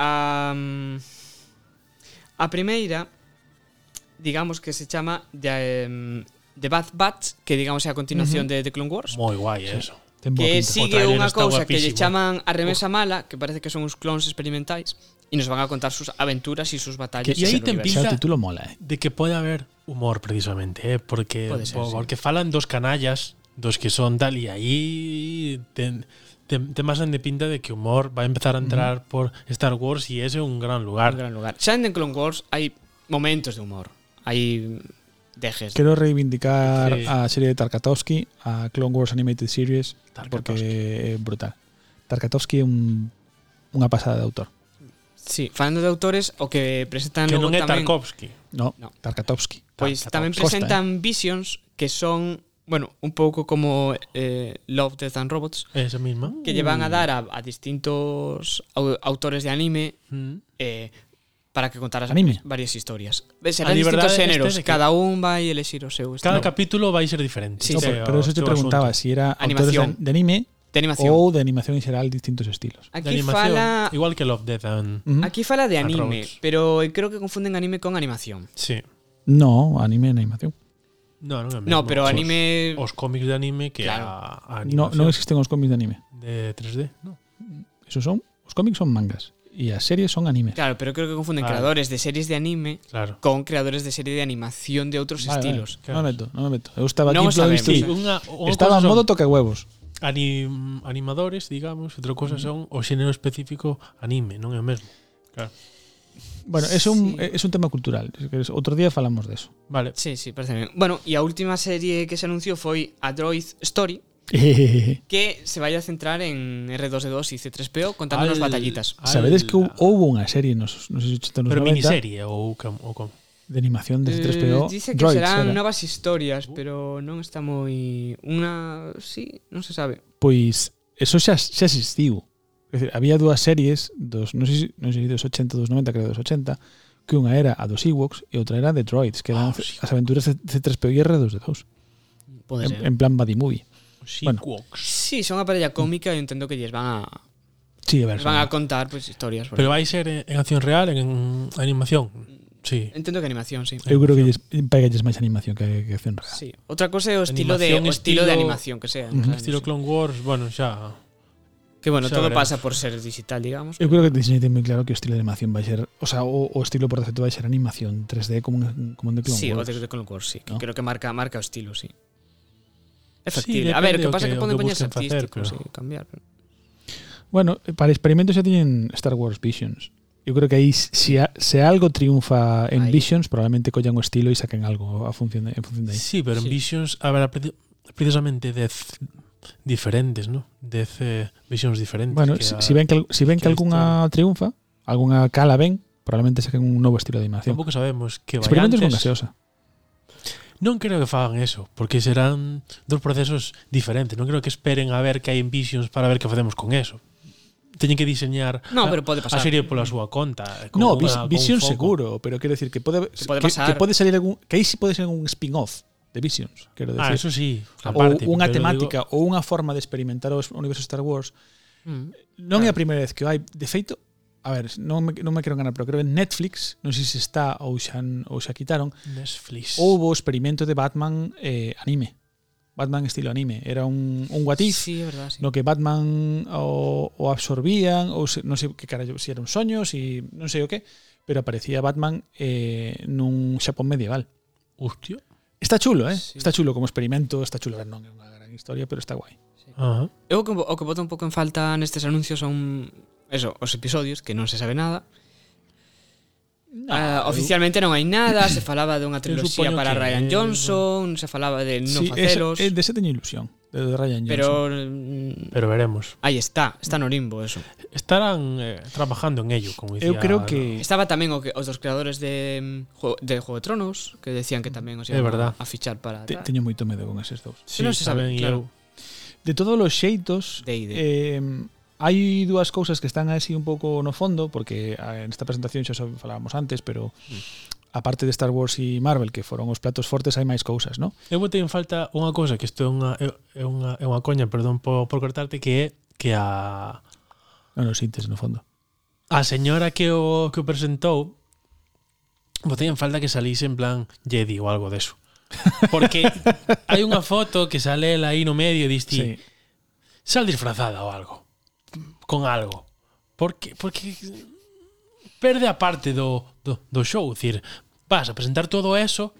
[SPEAKER 1] A, a primeira, digamos que se chama de, em, The Bad Batch, que digamos é a continuación de The Clone Wars.
[SPEAKER 3] Moi guai eso.
[SPEAKER 2] Ten boa
[SPEAKER 1] que
[SPEAKER 2] pinta.
[SPEAKER 3] sí.
[SPEAKER 1] sigue
[SPEAKER 3] O trailer
[SPEAKER 1] unha
[SPEAKER 3] está
[SPEAKER 1] cousa que lle
[SPEAKER 3] guapísimo.
[SPEAKER 1] chaman a remesa mala, que parece que son uns clones experimentais, e nos van a contar sus aventuras e sus batallas.
[SPEAKER 3] Que- e aí
[SPEAKER 1] en el
[SPEAKER 3] ten
[SPEAKER 1] universo.
[SPEAKER 2] O sea,
[SPEAKER 3] pinta-
[SPEAKER 2] o título mola, eh.
[SPEAKER 3] De que pode haber humor precisamente, eh? porque
[SPEAKER 1] Pode ser,
[SPEAKER 3] po-
[SPEAKER 1] sí.
[SPEAKER 3] porque falan dos canallas, dos que son tal y aí ten, ten, ten máis de pinta de que humor va a empezar a entrar por Star Wars y ese é un gran lugar.
[SPEAKER 1] un gran lugar. Xa en The Clone Wars hai momentos de humor. Hai dejes.
[SPEAKER 2] Quero reivindicar
[SPEAKER 3] Sí.
[SPEAKER 2] a serie de Tarkatovsky, a Clone Wars Animated Series, porque é brutal. Tarkatovsky é un, unha pasada de autor.
[SPEAKER 1] Sí, falando de autores, o que presentan
[SPEAKER 3] que
[SPEAKER 1] logo
[SPEAKER 3] non é
[SPEAKER 1] tamén,
[SPEAKER 3] Tarkovsky.
[SPEAKER 2] No,
[SPEAKER 1] No.
[SPEAKER 2] Tarkatovsky.
[SPEAKER 1] pois
[SPEAKER 2] Tarkatovsky.
[SPEAKER 1] tamén
[SPEAKER 2] Costa, eh.
[SPEAKER 1] presentan Visions que son, bueno, un pouco como eh, Love, Death and Robots
[SPEAKER 3] Esa misma.
[SPEAKER 1] que lle
[SPEAKER 2] Mm.
[SPEAKER 1] van a dar a, a distintos au- autores de anime
[SPEAKER 3] Mm.
[SPEAKER 1] eh, para que contaras
[SPEAKER 2] Anime.
[SPEAKER 1] varias historias. Eh, Serán distintos
[SPEAKER 3] A liberdade este
[SPEAKER 1] xéneros,
[SPEAKER 3] de que-
[SPEAKER 1] cada un vai elexir o seu
[SPEAKER 3] Cada
[SPEAKER 1] estilo.
[SPEAKER 3] capítulo vai ser
[SPEAKER 1] Pues
[SPEAKER 3] diferente.
[SPEAKER 1] Sí,
[SPEAKER 2] no,
[SPEAKER 1] sí.
[SPEAKER 2] pero, pero eso te preguntaba si era
[SPEAKER 1] Animación.
[SPEAKER 2] autores de, de anime
[SPEAKER 1] de animación.
[SPEAKER 2] ou de animación en xeral distintos estilos.
[SPEAKER 1] aquí fala Mm.
[SPEAKER 3] Igual que Love, Death and...
[SPEAKER 2] Ujú.
[SPEAKER 1] aquí fala de
[SPEAKER 3] And
[SPEAKER 1] anime,
[SPEAKER 3] robots.
[SPEAKER 1] pero creo que confunden anime con animación.
[SPEAKER 3] Sí.
[SPEAKER 2] No, anime en animación.
[SPEAKER 3] No,
[SPEAKER 2] Mm.
[SPEAKER 3] non é o
[SPEAKER 1] No,
[SPEAKER 3] mesmo.
[SPEAKER 1] pero
[SPEAKER 3] Os-
[SPEAKER 1] anime
[SPEAKER 3] Os cómics de anime que
[SPEAKER 1] Claro.
[SPEAKER 3] a, a
[SPEAKER 2] No,
[SPEAKER 3] animación
[SPEAKER 2] non existen os cómics de anime.
[SPEAKER 3] de 3D. No.
[SPEAKER 2] Esos son, os cómics son mangas e as series son animes.
[SPEAKER 1] Claro, pero creo que confunden
[SPEAKER 3] Vale.
[SPEAKER 1] creadores de series de anime
[SPEAKER 3] Claro.
[SPEAKER 1] con creadores de serie de animación de outros
[SPEAKER 2] Vale,
[SPEAKER 1] estilos.
[SPEAKER 2] Vale. Non
[SPEAKER 3] Pues claro.
[SPEAKER 2] me meto, non me meto. Eu estaba aquí
[SPEAKER 1] Non
[SPEAKER 2] en plan de
[SPEAKER 1] sabemos,
[SPEAKER 2] historia.
[SPEAKER 1] eh.
[SPEAKER 3] Unha, unha
[SPEAKER 2] Estaba en
[SPEAKER 3] cosa son
[SPEAKER 2] modo toca huevos.
[SPEAKER 3] anim, animadores, digamos, outra cosa son o xénero específico anime, non é o mesmo. Claro.
[SPEAKER 2] Bueno, es un,
[SPEAKER 1] Sí.
[SPEAKER 2] es un tema cultural. Es que es- Outro día falamos de
[SPEAKER 3] [laughs]
[SPEAKER 2] eso.
[SPEAKER 3] Vale.
[SPEAKER 1] Sí, sí, parece ben. Bueno, e a última serie que se anunciou foi A Droid Story, que se vai a centrar en R2D2 e C3PO contándonos
[SPEAKER 3] Al-
[SPEAKER 1] batallitas.
[SPEAKER 3] al-
[SPEAKER 2] Sabedes que hou- houbo unha serie nos, nos 80 nos
[SPEAKER 3] Pero
[SPEAKER 2] 90
[SPEAKER 3] miniserie ou com, ou com.
[SPEAKER 2] de animación de
[SPEAKER 1] Eh,
[SPEAKER 2] C3PO.
[SPEAKER 1] dice que
[SPEAKER 2] Droids
[SPEAKER 1] serán
[SPEAKER 2] era.
[SPEAKER 1] novas historias, pero non está moi unha, sí, non se sabe.
[SPEAKER 2] Pois Pues, eso xa, xa existiu. Es decir, había dúas series dos, non sei, se- non sei se dos 80 dos 90, creo dos 80, que unha era a dos Ewoks e outra era de Droids, que eran
[SPEAKER 3] Ah, os
[SPEAKER 2] as aventuras de C3PO e R2D2.
[SPEAKER 1] Pode
[SPEAKER 2] En,
[SPEAKER 3] Em,
[SPEAKER 1] ser.
[SPEAKER 2] en plan buddy movie. Bueno.
[SPEAKER 3] Sequox.
[SPEAKER 1] Sí, son unha parella cómica e entendo que lles van a
[SPEAKER 2] Sí, a ver.
[SPEAKER 1] lles van a contar pois historias. por
[SPEAKER 3] Pero vai ser en, en acción real, en, animación.
[SPEAKER 1] aí.
[SPEAKER 3] Sí.
[SPEAKER 1] Entendo que animación, sí.
[SPEAKER 2] Eu creo que lles, pegalles máis animación que, que acción real.
[SPEAKER 1] Sí. Outra cosa é o estilo de
[SPEAKER 3] Animación,
[SPEAKER 1] o estilo de
[SPEAKER 3] estilo-
[SPEAKER 1] animación que sea, en plan,
[SPEAKER 3] Estilo
[SPEAKER 1] sí.
[SPEAKER 3] Clone Wars, bueno, xa
[SPEAKER 1] Que bueno,
[SPEAKER 3] Xa
[SPEAKER 1] todo
[SPEAKER 3] veremos.
[SPEAKER 1] pasa por ser digital, digamos.
[SPEAKER 2] Eu creo que Disney ten moi claro que o estilo de animación vai ser, o sea, o, o estilo por defecto vai ser animación 3D como un, como un de Clone
[SPEAKER 1] sí,
[SPEAKER 2] Wars.
[SPEAKER 1] o de Clone Wars, sí. que
[SPEAKER 2] ¿no?
[SPEAKER 1] Creo que marca, marca o estilo, sí. É
[SPEAKER 3] Sí,
[SPEAKER 1] factible. a ver,
[SPEAKER 3] depende
[SPEAKER 1] que
[SPEAKER 3] o
[SPEAKER 1] pasa
[SPEAKER 3] que-
[SPEAKER 1] que,
[SPEAKER 3] o
[SPEAKER 1] poden
[SPEAKER 3] que
[SPEAKER 1] poñerse
[SPEAKER 3] busquen facer,
[SPEAKER 1] artísticos,
[SPEAKER 3] pero-
[SPEAKER 1] sí, cambiar. Pero...
[SPEAKER 2] Bueno, eh, para experimentos xa teñen Star Wars Visions. Eu creo que aí se, a- se algo triunfa en
[SPEAKER 1] Aí.
[SPEAKER 2] Visions, probablemente collan o estilo e saquen algo a función de, en función de aí.
[SPEAKER 3] Sí, pero en
[SPEAKER 1] Sí.
[SPEAKER 3] Visions habrá pre- precisamente 10 diferentes, ¿no? 10 eh, Visions diferentes.
[SPEAKER 2] Bueno,
[SPEAKER 3] que
[SPEAKER 2] si,
[SPEAKER 3] a-
[SPEAKER 2] si ven que al- si ven que
[SPEAKER 3] que a
[SPEAKER 2] algunha triunfa, algunha cala ben, probablemente saquen un novo estilo de animación.
[SPEAKER 3] Tampouco sabemos que vai
[SPEAKER 2] Experimentos con
[SPEAKER 3] antes.
[SPEAKER 2] gaseosa.
[SPEAKER 3] Non creo que fagan eso, porque serán dos procesos diferentes. Non creo que esperen a ver que hai en Visions para ver que facemos con eso. Teñen que diseñar
[SPEAKER 1] No,
[SPEAKER 3] a,
[SPEAKER 1] pero pode
[SPEAKER 3] a
[SPEAKER 1] pasar.
[SPEAKER 3] serie pola súa conta. eh, con
[SPEAKER 2] No,
[SPEAKER 3] unha-
[SPEAKER 2] vis,
[SPEAKER 3] con un
[SPEAKER 2] Visions
[SPEAKER 3] foco.
[SPEAKER 2] seguro, pero quero decir que pode,
[SPEAKER 1] Se pode
[SPEAKER 2] que,
[SPEAKER 1] pasar.
[SPEAKER 2] que pode salir algún, que aí si pode ser un spin-off de Visions, quero decir.
[SPEAKER 3] Ah, eso sí. aparte,
[SPEAKER 2] ou unha
[SPEAKER 3] pero
[SPEAKER 2] temática ou unha forma de experimentar o es- universo Star Wars
[SPEAKER 1] Mm.
[SPEAKER 2] non é a primeira vez que o hai de feito a ver, non me, non me quero enganar pero creo que en Netflix non sei se está ou xa, ou xa quitaron
[SPEAKER 3] digo, Netflix.
[SPEAKER 2] houve o experimento de Batman eh, anime Batman estilo anime era un, un what if
[SPEAKER 1] Sí, é verdad, sí.
[SPEAKER 2] no que Batman o, o absorbían ou se, non sei que carallo, se era un soño si non sei o que pero aparecía Batman eh, nun Xapón medieval
[SPEAKER 3] Hostia.
[SPEAKER 2] está chulo, eh?
[SPEAKER 1] Sí.
[SPEAKER 2] está chulo como experimento está chulo, a ver, non é unha gran historia pero está guai
[SPEAKER 3] Ajá.
[SPEAKER 1] Eu o que, o que boto un pouco en falta nestes anuncios son eso, os episodios, que non se sabe nada. Ah, oficialmente non hai nada,
[SPEAKER 3] [coughs]
[SPEAKER 1] se falaba dunha triloxía
[SPEAKER 3] supoño
[SPEAKER 1] para
[SPEAKER 3] que-
[SPEAKER 1] Ryan Johnson, se falaba de non
[SPEAKER 2] sí,
[SPEAKER 1] facelos,
[SPEAKER 2] esa- eh, de ese teño ilusión, de, de Ryan Johnson.
[SPEAKER 1] pero mm,
[SPEAKER 3] Pero veremos.
[SPEAKER 1] aí está, está no limbo eso.
[SPEAKER 3] Estarán eh, trabajando en ello, como decía.
[SPEAKER 2] eu creo que
[SPEAKER 1] Estaba tamén o que, os dos creadores de mm, Juego, de Juego de Tronos que decían que tamén os
[SPEAKER 3] É
[SPEAKER 1] iban
[SPEAKER 3] verdad.
[SPEAKER 1] a, a fichar para
[SPEAKER 2] te,
[SPEAKER 1] tal.
[SPEAKER 2] teño moito medo con eses dous.
[SPEAKER 3] Sí,
[SPEAKER 1] non se sabe,
[SPEAKER 3] saben, e
[SPEAKER 1] claro.
[SPEAKER 3] eu-
[SPEAKER 2] De todos os xeitos,
[SPEAKER 1] De ide.
[SPEAKER 2] eh, hai dúas cousas que están así un pouco no fondo, porque ah, en esta presentación xa só falábamos antes, pero aparte de Star Wars e Marvel, que foron os platos fortes, hai máis cousas, non?
[SPEAKER 3] Eu botei en falta unha cousa que isto é unha é é unha é unha coña, perdón por, por cortarte, que é que a
[SPEAKER 2] Non o sintes, no fondo.
[SPEAKER 3] a señora que o que o presentou botei en falta que salise en plan Jedi ou algo deso. Porque
[SPEAKER 2] [laughs]
[SPEAKER 3] hai unha foto que sale ela aí no medio e diste, sí. sal disfrazada ou algo, con algo. Porque porque perde a parte do do, do show, dicir, vas a presentar todo eso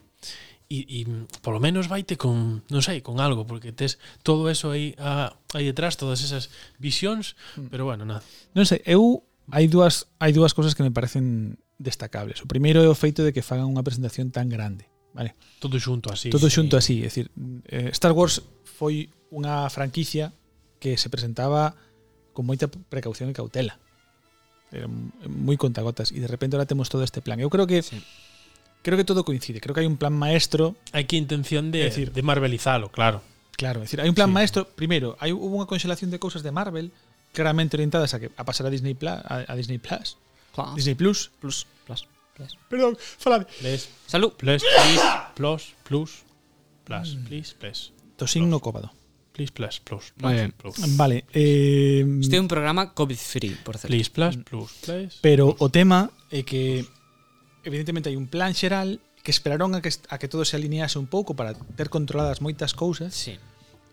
[SPEAKER 3] e, e por lo menos vaite con, non sei, con algo, porque tes todo eso aí a, aí detrás, todas esas visións,
[SPEAKER 2] Mm.
[SPEAKER 3] pero bueno, nada.
[SPEAKER 2] Non sei, eu hai dúas hai dúas cousas que me parecen destacables. O primeiro é o feito de que fagan unha presentación tan grande, vale?
[SPEAKER 3] Todo xunto así.
[SPEAKER 2] Todo
[SPEAKER 3] sí.
[SPEAKER 2] xunto así, é dicir, eh, Star Wars foi unha franquicia que se presentaba con moita precaución e cautela. Era m- moi contagotas e de repente ahora temos todo este plan. Eu creo que
[SPEAKER 1] Sí.
[SPEAKER 2] creo que todo coincide, creo que hai un plan maestro
[SPEAKER 3] Hai que intención de,
[SPEAKER 2] É dicir-
[SPEAKER 3] de marvelizalo, claro.
[SPEAKER 2] Claro, es decir, hai un plan
[SPEAKER 3] Sí.
[SPEAKER 2] maestro, primeiro, hai hubo unha conxelación de cousas de Marvel claramente orientadas a que a pasar a Disney Plus, a, a Disney Plus,
[SPEAKER 1] Juan.
[SPEAKER 2] Disney Plus.
[SPEAKER 1] Plus, plus, plus.
[SPEAKER 2] Perdón, falade.
[SPEAKER 3] Ples,
[SPEAKER 1] Salud.
[SPEAKER 3] ples, plis, plos, plus, plas, plis, ples.
[SPEAKER 2] Tosín
[SPEAKER 1] Ah.
[SPEAKER 2] no cóbado.
[SPEAKER 3] Plis, plas, plus,
[SPEAKER 1] Moi ben.
[SPEAKER 3] plas, plus.
[SPEAKER 2] Vale, eh,
[SPEAKER 1] Este é un programa COVID-free, por certo.
[SPEAKER 3] Plis, plas, plus, ples.
[SPEAKER 2] pero o tema é que evidentemente hai un plan xeral que esperaron a que, est- a que todo se alinease un pouco para ter controladas moitas cousas
[SPEAKER 1] Sí.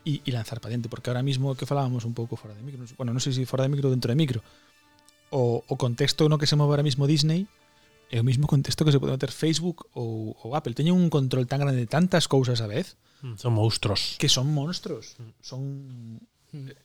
[SPEAKER 2] e, e lanzar patente, porque ahora mismo é o que falábamos un pouco fora de micro, non sei- bueno, non sei se fora de micro ou dentro de micro, o, o contexto no que se move ahora mismo Disney é o mismo contexto que se pode meter Facebook ou, ou Apple. Teñen un control tan grande de tantas cousas a vez
[SPEAKER 3] Mm, Son monstruos.
[SPEAKER 2] que son monstruos, son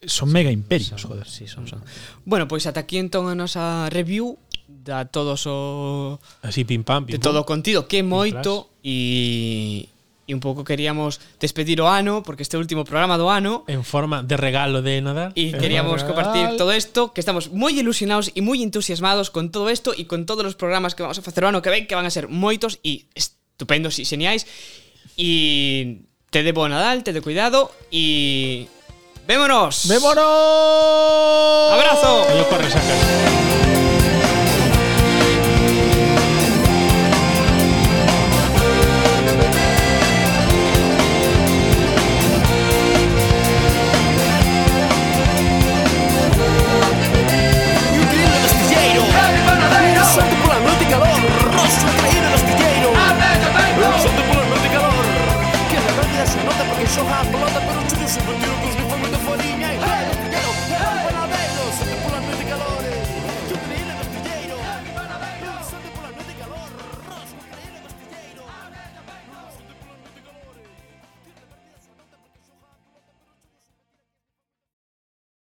[SPEAKER 2] son mega imperios,
[SPEAKER 1] Mm.
[SPEAKER 2] joder.
[SPEAKER 1] Sí, son, son. Bueno, pois ata aquí entón a nosa review da todos o
[SPEAKER 3] Así pim pam,
[SPEAKER 1] de
[SPEAKER 3] pim
[SPEAKER 1] todo o
[SPEAKER 3] pum.
[SPEAKER 1] contido que é moito e e un pouco queríamos despedir o ano porque este é o último programa do ano
[SPEAKER 3] En forma de regalo de Nadal.
[SPEAKER 1] Y
[SPEAKER 2] Eh,
[SPEAKER 1] queríamos
[SPEAKER 2] Nadal.
[SPEAKER 1] compartir todo esto, que estamos muy ilusionados y muy entusiasmados con todo esto y con todos los programas que vamos a facer o ano que ven, que van a ser moitos y estupendos y geniais. Y te de bo Nadal, te de cuidado y vémonos.
[SPEAKER 2] ¡Vémonos!
[SPEAKER 1] Abrazo.
[SPEAKER 3] pues Yo corre, sacas.